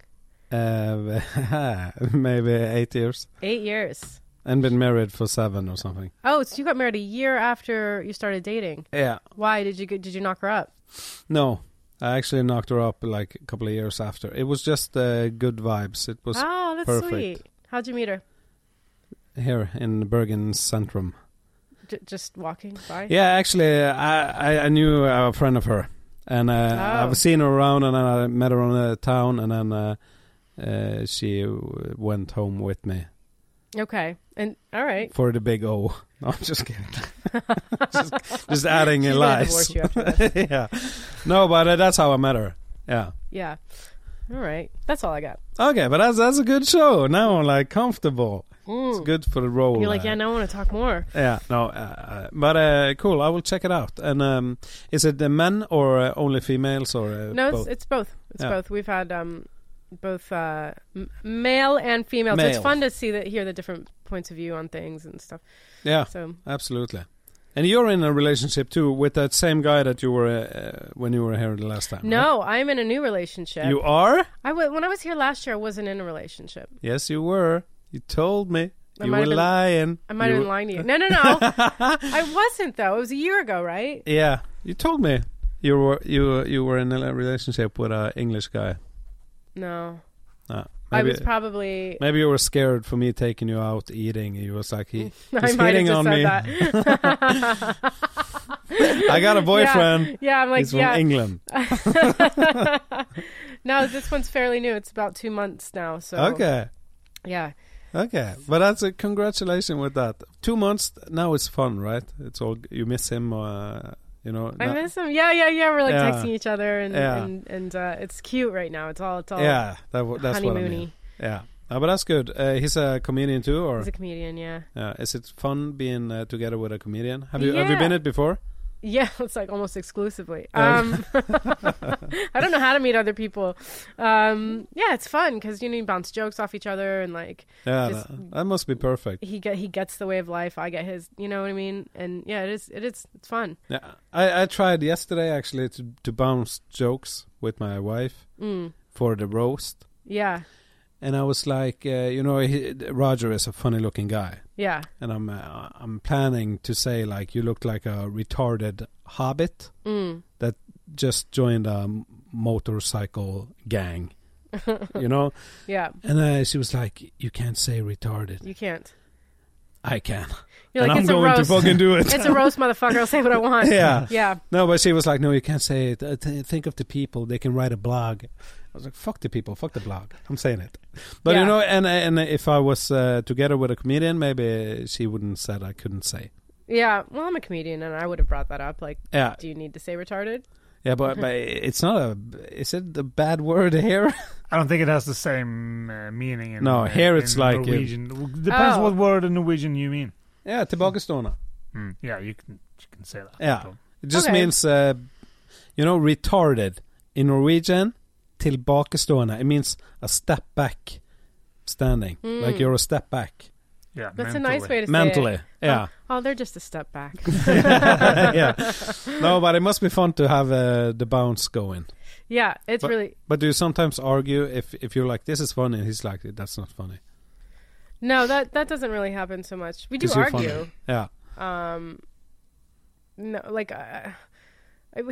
S1: Uh, maybe eight years,
S2: Eight years.
S1: and been married for seven or something.
S2: Oh, so you got married a year after you started dating.
S1: Yeah.
S2: Why did you get- did you knock her up?
S1: No, I actually knocked her up like a couple of years after. It was just uh, good vibes. It was
S2: Oh, that's
S1: perfect.
S2: sweet. How'd you meet her?
S1: here in Bergen Centrum.
S2: J- just walking by.
S1: Yeah, actually, I, I, I knew a friend of her, and uh,
S2: Oh.
S1: I've seen her around, and then I met her on the town, and then uh, uh, she w- went home with me
S2: Okay. And all right.
S1: for the big O. No, I'm just kidding. just, just adding
S2: She's
S1: in
S2: gonna
S1: lies.
S2: divorce you after this.
S1: yeah, no, but uh, that's how I met her. Yeah.
S2: yeah. All right. That's all I got.
S1: Okay, but that's that's a good show. Now I'm like comfortable. It's
S2: Mm.
S1: good for the role.
S2: You're like,
S1: uh,
S2: yeah, no, I want to talk more.
S1: Yeah, no, uh, uh, but uh, cool. I will check it out. And um, is it the men or uh, only females or uh,
S2: No, it's
S1: both?
S2: it's both. It's
S1: Yeah.
S2: both. We've had um, both uh, m- male and female. So it's
S1: Male.
S2: fun to see that hear the different points of view on things and stuff.
S1: yeah,
S2: So
S1: absolutely. And you're in a relationship too with that same guy that you were uh, uh, when you were here the last time. right?
S2: no, I'm in a new relationship.
S1: you are.
S2: I w- when I was here last year, I wasn't in a relationship.
S1: Yes, you were. You told me
S2: I
S1: you were
S2: might have been-
S1: lying.
S2: I might
S1: You
S2: have been
S1: were-
S2: lying to you. No, no, no. I wasn't though. It was a year ago, right?
S1: Yeah, you told me you were you you were in a relationship with an English guy.
S2: No,
S1: No,
S2: I
S1: maybe-
S2: was probably.
S1: Maybe you were scared for me taking you out eating. He was like, he,
S2: I
S1: he's
S2: might have
S1: hitting
S2: just
S1: on
S2: said
S1: me.
S2: that.
S1: I got a boyfriend.
S2: Yeah, yeah I'm like,
S1: he's from
S2: yeah.
S1: England.
S2: no, this one's fairly new. It's about two months now. So
S1: Okay,
S2: yeah,
S1: okay. But that's a congratulations with that. Two months now it's fun, right? It's all you miss him. Uh, you know.
S2: I
S1: na-
S2: miss him. Yeah, yeah, yeah. We're like
S1: Yeah.
S2: texting each other, and
S1: Yeah.
S2: and, and uh, it's cute right now. It's all it's all
S1: yeah, that, w- that's what I
S2: honeymoony.
S1: mean. Yeah, No, but that's good. Uh, he's a comedian too, or
S2: He's a comedian. Yeah,
S1: yeah. is it fun being uh, together with a comedian? Have you have you
S2: Yeah.
S1: been it before?
S2: yeah. It's like almost exclusively.
S1: Okay.
S2: Um, I don't know how to meet other people. Um, yeah, it's fun because you know you bounce jokes off each other, and like
S1: Yeah,
S2: Just-
S1: that, that must be perfect.
S2: he get he gets the way of life. I get his. You know what I mean? And yeah, it is. It is. It's fun.
S1: Yeah, I, I tried yesterday actually to, to bounce jokes with my wife
S2: Mm.
S1: for the roast,
S2: Yeah.
S1: and I was like, uh, you know, he, Roger is a funny-looking guy,
S2: Yeah.
S1: and I'm uh, I'm planning to say like, you look like a retarded hobbit
S2: Mm.
S1: just joined a m- motorcycle gang, you know.
S2: Yeah.
S1: And uh, she was like, you can't say retarded.
S2: You can't.
S1: I can,
S2: You're
S1: and
S2: like
S1: I'm
S2: it's a
S1: going to
S2: roast.
S1: fucking do it.
S2: it's a roast, motherfucker. I'll say what I want.
S1: Yeah.
S2: Yeah.
S1: No, but she was like, no, you can't say it. Uh, th- think of the people. They can write a blog. I was like, fuck the people. Fuck the blog. I'm saying it. But you
S2: Yeah.
S1: know, and and if I was uh, together with a comedian, maybe she wouldn't said I couldn't say.
S2: Yeah. Well, I'm a comedian, and I would have brought that up. Like,
S1: Yeah,
S2: do you need to say retarded?
S1: yeah, but, but it's not a. Is it a bad word here?
S3: I don't think it has the same uh, meaning. In,
S1: No,
S3: uh,
S1: here it's
S3: in
S1: like it-
S3: Norwegian. Depends
S2: Oh.
S3: what word in Norwegian you mean.
S1: yeah, tillbakastående.
S3: Hmm, yeah, you can you can say that.
S1: Yeah. It just
S2: Okay.
S1: means, uh, you know, retarded in Norwegian. Tillbakastående. It means a step back, standing.
S2: Mm.
S1: Like you're a step back
S3: Yeah,
S2: That's a
S3: mentally.
S2: nice way to say
S1: mentally.
S2: it.
S1: Yeah.
S2: Oh, they're just a step back.
S1: yeah. No, but it must be fun to have uh, the bounce going.
S2: yeah, it's
S1: But-
S2: really
S1: But do you sometimes argue if if you're like this is funny and he's like that's not funny?
S2: no that that doesn't really happen so much. We do
S1: 'Cause you're funny.
S2: argue.
S1: Yeah.
S2: Um, no, like uh,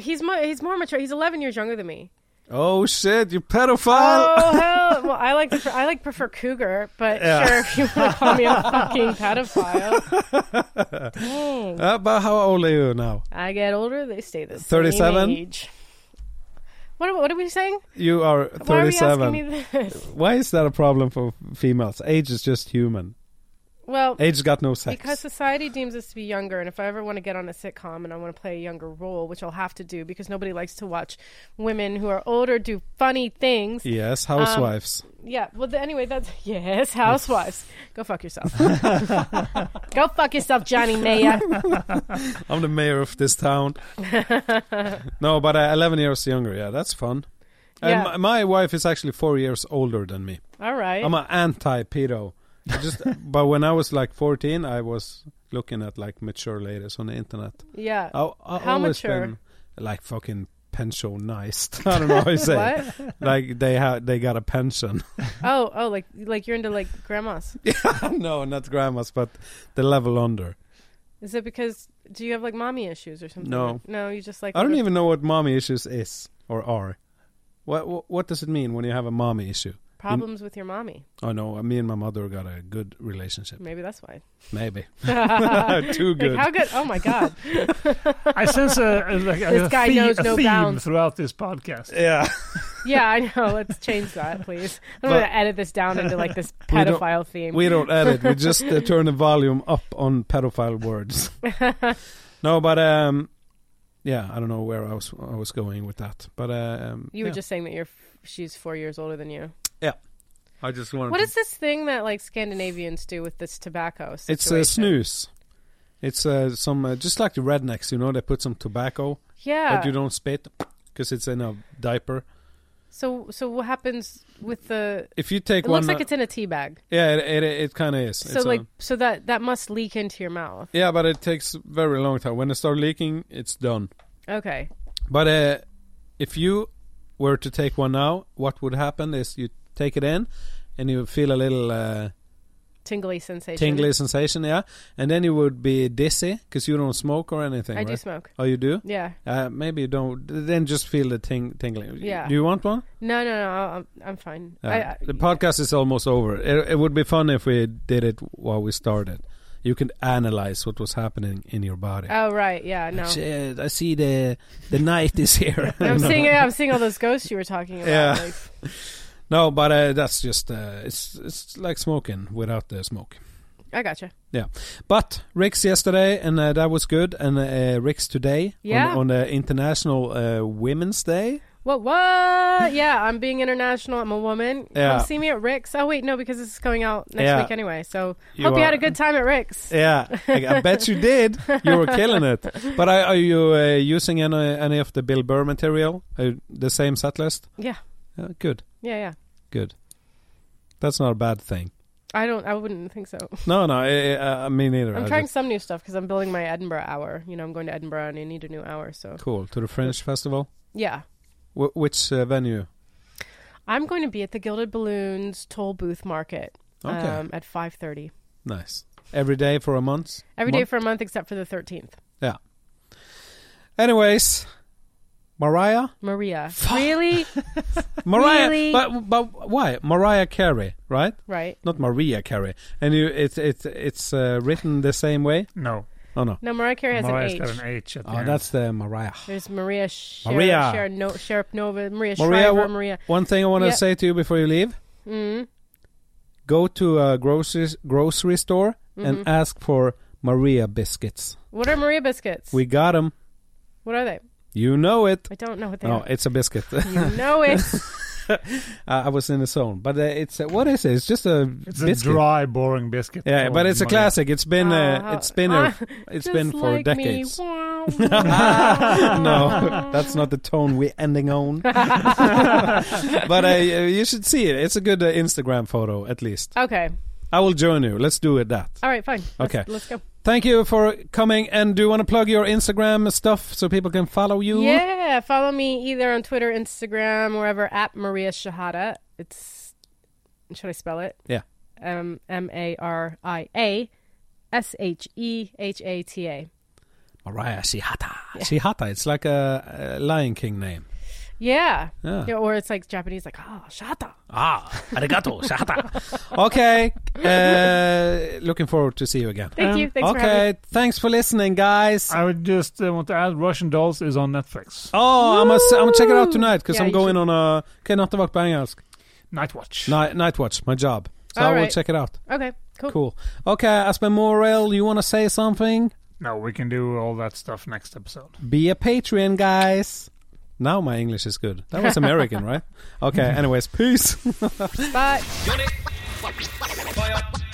S2: he's mu- he's more mature. He's 11 years younger than me.
S1: Oh shit, you pedophile!
S2: Oh hell! Well, I like to, I like prefer cougar, but
S1: Yeah.
S2: sure if you want to call me a fucking pedophile. Dang.
S1: Uh, but how old are you now?
S2: I get older, they stay the
S1: 37?
S2: same age. What are, what are we saying?
S1: You are
S2: Why are you asking
S1: thirty-seven.
S2: me this?
S1: Why is that a problem for females? Age is just human.
S2: Well,
S1: Age got no sex.
S2: because society deems us to be younger, and if I ever want to get on a sitcom and I want to play a younger role, which I'll have to do because nobody likes to watch women who are older do funny things.
S1: yes,
S2: Um,
S1: housewives.
S2: Yeah. Well, th anyway, that's yes, housewives. Go fuck yourself. Go fuck yourself, Johnny Mayer.
S1: I'm the mayor of this town. no, but uh, 11 years younger. Yeah, that's fun.
S2: Yeah.
S1: And my, my wife is actually four years older than me.
S2: All right.
S1: I'm an anti-pedo. I Just, but when I was like 14, I was looking at like mature ladies on the internet.
S2: yeah.
S1: I, I
S2: How
S1: always
S2: mature?
S1: been like fucking pensionized. I don't know how you say. it.
S2: What?
S1: Like they had, they got a pension.
S2: Oh, oh, like like you're into like grandmas.
S1: no, not grandmas, but the level under.
S2: Is it because do you have like mommy issues or something?
S1: No.
S2: No, you just like
S1: I don't
S2: look-
S1: even know what mommy issues is or are. What, what what does it mean when you have a mommy issue?
S2: problems with your mommy.
S1: Oh no, me and my mother got a good relationship.
S2: Maybe that's why.
S1: Maybe too
S2: Like,
S1: good.
S2: how good? Oh my god.
S3: I sense a, a, like a,
S2: This
S3: a
S2: guy
S3: theme,
S2: knows
S3: a
S2: no
S3: theme
S2: bounds.
S3: throughout this podcast.
S1: yeah,
S2: yeah, I know. Let's change that, please. I'm
S1: But-
S2: gonna edit this down into like this
S1: We don't-
S2: pedophile theme.
S1: we don't edit. We just uh, turn the volume up on pedophile words. no, but um, yeah, I don't know where I was I was going with that. But um,
S2: you were
S1: yeah.
S2: just saying that you're f- she's four years older than you.
S1: I just wanted.
S2: What
S1: to-
S2: is this thing that like Scandinavians do with this tobacco? Situation?
S1: it's a snooze. It's uh, some uh, just like the rednecks, you know. They put some tobacco,
S2: Yeah.
S1: but you don't spit because it's in a diaper.
S2: so so what happens with the?
S1: If you take
S2: It
S1: one,
S2: looks like
S1: uh,
S2: it's in a tea bag.
S1: yeah, it it, it kind of is.
S2: So
S1: It's a-
S2: like so that that must leak into your mouth.
S1: Yeah, but it takes very long time. When it start leaking, it's done.
S2: Okay.
S1: But uh, if you were to take one now, what would happen is you take it in, and you feel a little uh,
S2: Tingly sensation.
S1: tingly sensation, yeah, and then you would be dizzy because you don't smoke or anything.
S2: I do
S1: right?
S2: smoke.
S1: Oh, you do?
S2: Yeah.
S1: Uh, maybe you don't. Then just feel the ting- tingling.
S2: Yeah.
S1: Do you want one?
S2: No, no, no. I- I'm I'm fine.
S1: Uh,
S2: I, I,
S1: the podcast is almost over. It, it would be fun if we did it while we started. You could analyze what was happening in your body.
S2: oh right. Yeah. No.
S1: Shit, I see the the night is here.
S2: I'm
S1: No.
S2: seeing. I'm seeing all those ghosts you were talking about.
S1: Yeah.
S2: Like,
S1: No, but uh, that's just uh, it's it's like smoking without the smoke.
S2: I gotcha.
S1: But Rick's yesterday, and uh, that was good. And uh, Rick's today
S2: Yeah.
S1: on, on the International uh, Women's Day.
S2: What? What? Yeah. I'm being international. I'm a woman.
S1: Yeah.
S2: Come see me at Rick's. Oh wait, no, because this is going out next
S1: Yeah.
S2: week anyway. So
S1: You
S2: hope you
S1: are-
S2: had a good time at Rick's.
S1: Yeah, I, I bet you did. You were killing it. But are, are you uh, using any any of the Bill Burr material? Uh, the same set list?
S2: Yeah.
S1: Uh, good,
S2: Yeah. Yeah.
S1: good. That's not a bad thing.
S2: I don't. I wouldn't think so.
S1: No, no, I, I, I mean neither.
S2: I'm
S1: I
S2: trying
S1: just-
S2: some new stuff because I'm building my Edinburgh hour. You know, I'm going to Edinburgh and I need a new hour. So
S1: cool to the French festival.
S2: yeah,
S1: Wh which uh, venue?
S2: I'm going to be at the Gilded Balloons Toll Booth Market
S1: Okay,
S2: um, at 5:30
S1: nice. Every day for a month.
S2: every
S1: Mon-
S2: day for a month except for the 13th.
S1: Anyways, Mariah,
S2: Maria, really?
S1: Mariah,
S2: Really?
S1: but but why Mariah Carey, right?
S2: right?
S1: Not Maria Carey. And you, it's it's it's uh, written the same way.
S3: No,
S1: Oh no,
S2: No, Mariah Carey has
S3: Mariah's
S2: an H.
S3: got an H at the
S1: oh
S3: end.
S1: that's the Mariah.
S2: There's Maria Sher-
S1: Maria.
S2: Sher- no- Sharapnova,
S1: Maria,
S2: Maria, Shriver,
S1: what-
S2: Maria.
S1: One thing I want to
S2: Yeah.
S1: say to you before you leave:
S2: Mm.
S1: go to a grocery grocery store and ask for Maria biscuits.
S2: What are Maria biscuits?
S1: We got them.
S2: what are they?
S1: You know it.
S2: I don't know what they
S1: No,
S2: are.
S1: it's a biscuit.
S2: you know it.
S1: I I was in the zone, but uh, it's uh, what is it? It's just a
S3: it's a
S1: biscuit.
S3: dry, boring biscuit.
S1: yeah,
S3: called
S1: but it's a
S3: Maria.
S1: classic. It's been uh,
S2: Ah,
S1: it's been a,
S2: ah,
S1: it's
S2: Just
S1: been for
S2: like me.
S1: decades.
S2: Wow.
S1: no, that's not the tone we're ending on. but uh, you should see it. It's a good uh, Instagram photo, at least.
S2: Okay.
S1: I will join you. Let's do it that.
S2: All right. Fine. Let's-
S1: Okay.
S2: Let's go.
S1: Thank you for coming. And do you want to plug your Instagram stuff so people can follow you?
S2: Yeah. Follow me either on Twitter, Instagram, wherever at Maria Shahada. It's should I spell it?
S1: Yeah.
S2: Um, M A R I A S H E H A T A.
S1: Mariah Shihata. Shihata. It's like a, a Lion King name.
S2: Yeah.
S1: Yeah.
S2: Yeah, or it's like Japanese, like ah, shata.
S1: Ah, arigato, Shihata. okay. Uh, looking forward to see you again.
S2: Thank
S3: Um,
S2: you. Thanks for having me.
S1: okay. Thanks for listening, guys.
S3: I would just uh, want to add Russian Dolls is on Netflix.
S1: Oh, I'm gonna, s- I'm gonna check it out
S2: Woo!
S1: tonight because
S2: Yeah,
S1: I'm
S2: you
S1: going on a. Okay, not the walk på engelsk.
S3: Night Watch.
S1: Night, night watch, my job. So
S2: All
S1: I will
S2: right.
S1: check it out.
S2: Okay, cool.
S1: Cool. Okay, Aspen Morel, you want to say something?
S3: No, we can do all that stuff next episode.
S1: Be a Patreon, guys. Now my English is good. That was American, right? Okay, anyways, peace.
S2: Bye.
S4: Unit. Fire.